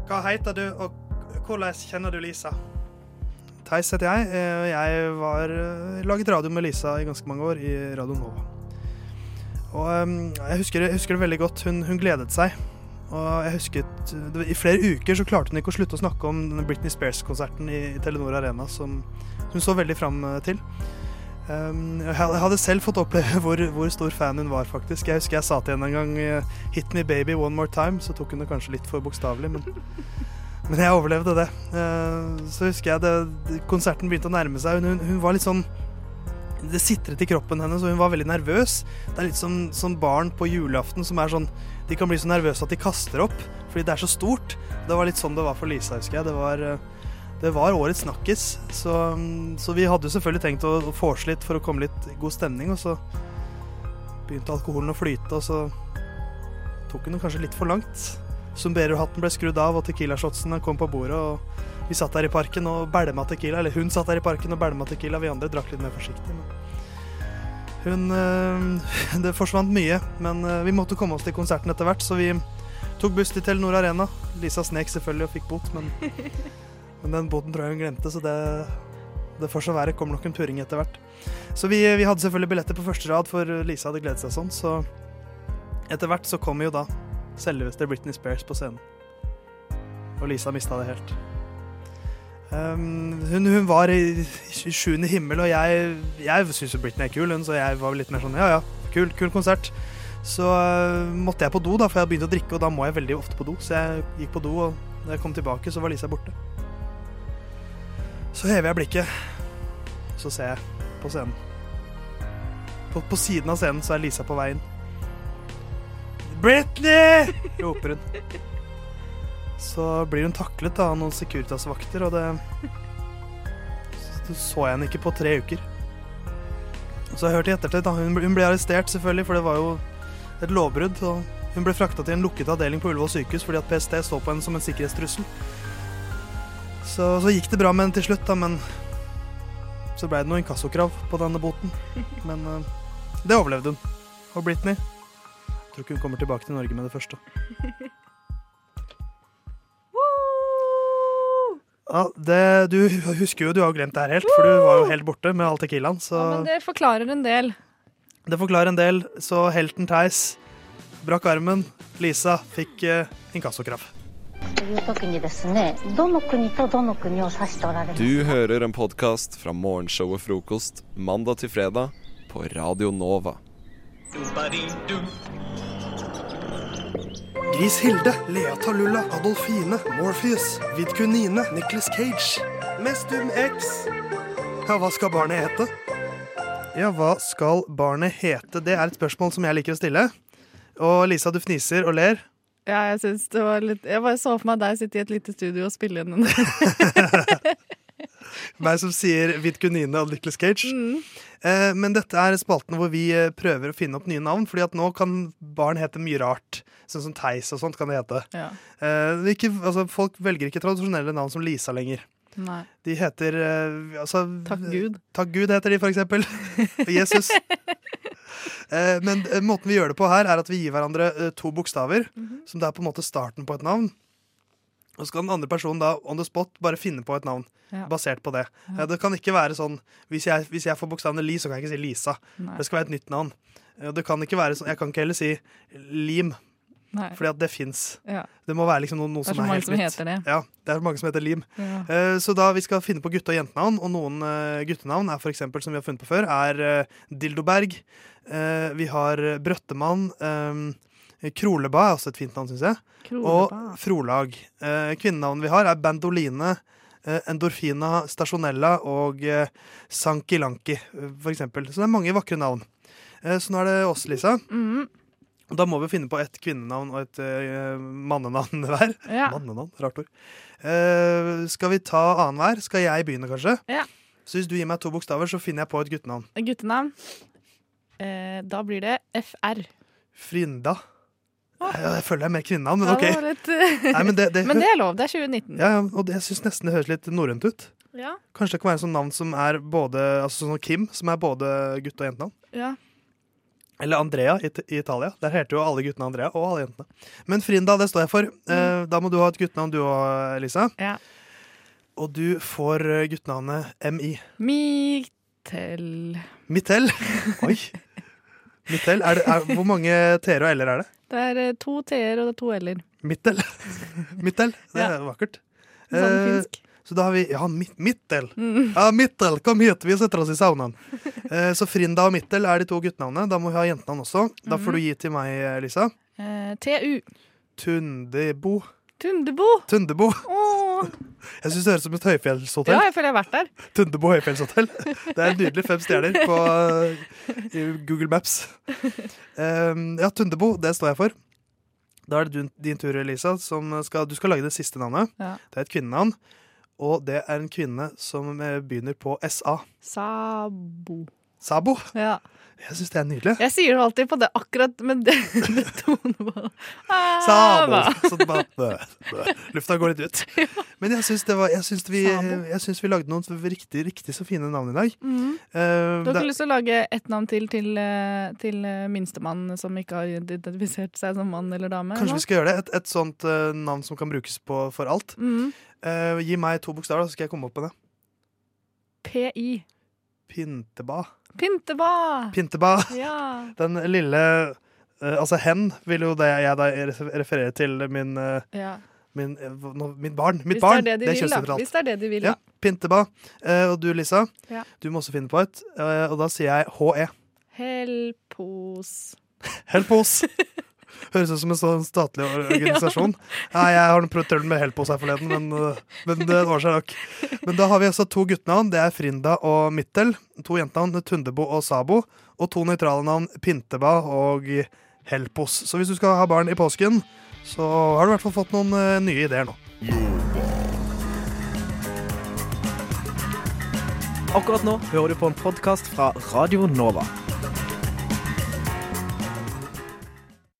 S2: Hva heter du, og hvordan kjenner du Lisa? Theis heter jeg. eh, Jeg var, eh, laget radio med Lisa i ganske mange år, i Radio Nova. Og eh, jeg husker, jeg husker det veldig godt. Hun, hun gledet seg. Og jeg husket, det, var- I flere uker så klarte hun ikke å slutte å snakke om denne Britney Spears-konserten i, i Telenor Arena, som hun så veldig fram eh, til. Um, jeg had- jeg hadde selv fått oppleve [laughs] hvor, hvor stor fan hun var, faktisk. Jeg husker jeg sa til henne en gang eh, 'Hit me baby one more time', så tok hun det kanskje litt for bokstavelig, men, [laughs] men jeg overlevde det. Eh, så husker jeg det, det- konserten begynte å nærme seg. Hun, hun, hun var litt sånn det sitret i kroppen hennes, og hun var veldig nervøs. Det er litt som, som barn på julaften som er sånn De kan bli så nervøse at de kaster opp fordi det er så stort. Det var litt sånn det var for Lisa, husker jeg. Det var eh, det var årets snakkis, så, så vi hadde jo selvfølgelig tenkt å å forse litt for å komme litt i god stemning, og så begynte alkoholen å flyte, og så tok hun det kanskje litt for langt. Sombrero-hatten ble skrudd av, og tequila-shotsene kom på bordet, og vi satt der i parken og bælma tequila, eller hun satt der i parken og bælma tequila, vi andre drakk litt mer forsiktig. Men hun eh, [laughs] Det forsvant mye, men eh, vi måtte komme oss til konserten etter hvert, så vi tok buss til Telenor Arena. Lisa snek selvfølgelig og fikk bot, men, men den boten tror jeg hun glemte, så det, det får så være. Kommer nok en puring etter hvert. Så vi, vi hadde selvfølgelig billetter på første rad, for Lisa hadde gledet seg sånn, så etter hvert så kom jo da selveste Britney Spears på scenen. Og Lisa mista det helt. Um, hun, hun var i, i sjuende himmel, og jeg, jeg syns jo Britney er kul, hun, så jeg var litt mer sånn ja ja, kul, kul konsert. Så øh, måtte jeg på do, da, for jeg hadde begynt å drikke, og da må jeg veldig ofte på do. Så jeg gikk på do, og da jeg kom tilbake, så var Lisa borte. Så hever jeg blikket, så ser jeg på scenen. På, på siden av scenen så er Lisa på vei inn. Britney! roper hun. Så blir hun taklet av noen Securitas-vakter, og det Så så jeg henne ikke på tre uker. Så jeg hørte i ettertid, da. Hun, ble- hun ble arrestert, selvfølgelig, for det var jo et lovbrudd. Og Hun ble frakta til en lukket avdeling på Ullevål sykehus fordi at PST så på henne som en sikkerhetstrussel. Så, så gikk det bra med henne til slutt, da, men så ble det noe inkassokrav på denne boten. Men eh, det overlevde hun. Og Britney. Jeg tror ikke hun kommer tilbake til Norge med det første. Ja, det, du husker jo du har glemt det her helt, for du var jo helt borte med all tequilaen. Så
S16: Men det forklarer en del.
S2: det forklarer en del. Så helten Theis brakk armen. Lisa fikk eh, inkassokrav.
S9: という時にですねどの国とどの国を指しておられます
S5: Du hører en podkast fra morgenshowet Frokost mandag til fredag på Radio Nova.
S2: Gris Hilde, Lea Talulla, Adolfine, Morpheus, Vidkunine, Nicholas Cage. Mestum X. Ja, hva skal barnet hete? Ja, hva skal barnet hete? Det er et spørsmål som jeg liker å stille. Og Lisa, du fniser og ler.
S16: Ja, jeg synes det var litt Jeg bare så for meg deg sitte i et lite studio og spille inn den.
S2: [laughs] Meg som sier Vidkunine og Nicholas Cage. Eh, men dette er spalten hvor vi eh, prøver å finne opp nye navn, fordi at nå kan barn hete mye rart. Sånn som Theis og sånt kan det hete.
S16: Ja.
S2: Eh, det er ikke, altså, folk velger ikke tradisjonelle navn som Lisa lenger.
S16: Nei.
S2: De heter eh, altså, Takk Gud. Takk Gud heter de, for eksempel. [laughs] Og Jesus. Eh, men eh, måten vi gjør det på her, er at vi gir hverandre eh, to bokstaver,
S16: Mhm.
S2: som det er på en måte starten på et navn. Og så kan den andre personen da on the spot bare finne på et navn
S16: Ja.
S2: basert på det.
S16: Ja.
S2: Eh, Det kan ikke være sånn Hvis jeg, hvis jeg får bokstavene Li, så kan jeg ikke si Lisa.
S16: Nei.
S2: Det skal være et nytt navn. Eh, Det kan ikke være sånn Jeg kan ikke heller si Lim,
S16: Nei.
S2: fordi at det fins.
S16: Ja.
S2: Det må være liksom noe, noe
S16: Det er
S2: som er
S16: så mange
S2: helt
S16: som
S2: nytt.
S16: heter det.
S2: Ja, det er mange som heter Lim.
S16: Ja.
S2: Eh, Så da vi skal finne på gutte- og jentenavn, og noen eh, guttenavn er for eksempel, som vi har funnet på før, er eh, Dildoberg. Eh, Vi har eh, Brøttemann. eh, Kroleba er også et fint navn, syns jeg.
S16: Kroleba.
S2: Og Frolag. Eh, Kvinnenavnene vi har, er Bandoline, eh, Endorfina, Stasjonella og eh, Sankilanki, eh, for eksempel. Så det er mange vakre navn. Eh, Så nå er det oss, Lisa.
S16: Mm.
S2: Og Da må vi finne på et kvinnenavn og et eh, mannenavn [laughs] hver.
S16: Ja.
S2: Mannenavn, rart ord. Eh, skal vi ta annenhver? Skal jeg begynne, kanskje?
S16: Ja.
S2: Så hvis du gir meg to bokstaver, så finner jeg på et guttenavn.
S16: Guttenavn. Eh, da blir det FR.
S2: Frinda. Jeg, jeg føler det er mer kvinnenavn, men
S16: Ja,
S2: [laughs]
S16: det
S2: OK.
S16: var litt- eh,
S2: Nei, men, det, det,
S16: Men det er lov. Det er 2019.
S2: ja, ja, og det, jeg syns nesten det høres litt norrønt ut.
S16: Ja.
S2: Kanskje det kan være sånn navn som er både Altså sånn som Kim, som er både gutt- og jentenavn.
S16: Ja.
S2: Eller Andrea i, i Italia. Der heter jo alle guttene Andrea, og alle jentene. Men Frinda, det står jeg for. Eh,
S16: Mm.
S2: da må du ha et guttenavn du òg, Elisa. Og du får eh, guttenavnet MI.
S16: Mitel.
S2: Mittel. Oi. Mittel. Er det, er, hvor mange T-er og L-er er det?
S16: Det er eh, to T-er og det er to L-er.
S2: Mittel. Mittel. Det er vakkert.
S16: Sånn
S2: Eh,
S16: finsk.
S2: så da har vi Ja, mi- Mittel.
S16: Mm.
S2: Ja, Mittel, kom hit! Vi setter oss i saunaen. Eh, så Frinda og Mittel er de to guttenavnene. Da må vi ha jentenavn også. Da får du gi til meg, eh, Lisa.
S16: Eh, TU.
S2: Tundebo.
S16: Tundebo.
S2: Tundebo.
S16: Åh.
S2: Jeg syns det høres ut som et høyfjellshotell.
S16: Ja, jeg føler jeg har vært der.
S2: Tundebo høyfjellshotell. Det er nydelig fem stjerner på eh, i Google Maps. Ehm, ja, Tundebo, det står jeg for. Da er det du, din tur, Elisa. Som skal, du skal lage det siste navnet.
S16: Ja.
S2: Det er et kvinnenavn. Og det er en kvinne som eh, begynner på SA.
S16: Sabo.
S2: Sabo.
S16: Ja.
S2: Jeg syns det er nydelig.
S16: Jeg sier det alltid på det akkurat, men det, [laughs] det toner bare
S2: Sabo.
S16: Ah,
S2: Sånn bare, bø, bø. Lufta går litt ut. Men jeg syns det var- jeg syns vi, jeg syns vi lagde noen riktig, riktig så fine navn i dag.
S16: Mm.
S2: Ehm,
S16: Du har
S2: det-
S16: ikke lyst til å lage ett navn til til, eh, til eh, minstemann som ikke har identifisert seg som mann eller dame?
S2: Kanskje vi skal gjøre det? Et, et sånt eh, navn som kan brukes på, for alt.
S16: Mm.
S2: Eh, gi meg to bokstaver, da, så skal jeg komme opp med det.
S16: PI.
S2: Pinteba.
S16: Pynteba!
S2: Pinteba.
S16: Ja.
S2: Den lille eh, Altså hen vil jo det jeg da refer- refererer til min, eh,
S16: ja.
S2: min, eh, hva- nå- mitt barn. Mitt
S16: Hvis
S2: barn!
S16: det er det de vil, da.
S2: kjønnsnøytralt.
S16: Hvis det er det de vil, da.
S2: Ja, Pinteba. Eh, og du, Lisa,
S16: Ja.
S2: du må også finne på et. eh, og da sier jeg HE.
S16: Helpos.
S2: Helpos. Høres ut som en sånn statlig or- organisasjon. Nei, jeg har prøvd trøbbel med Helpos her forleden, men, øh, men det ordner seg nok. Men da har vi altså to guttenavn. Det er Frinda og Mittel. To jentenavn, Tundebo og Sabo. Og to nøytrale navn, Pinteba og Helpos. Så hvis du skal ha barn i påsken, så har du i hvert fall fått noen øh, nye ideer nå.
S3: Akkurat nå hører du på en podkast fra Radio Nova.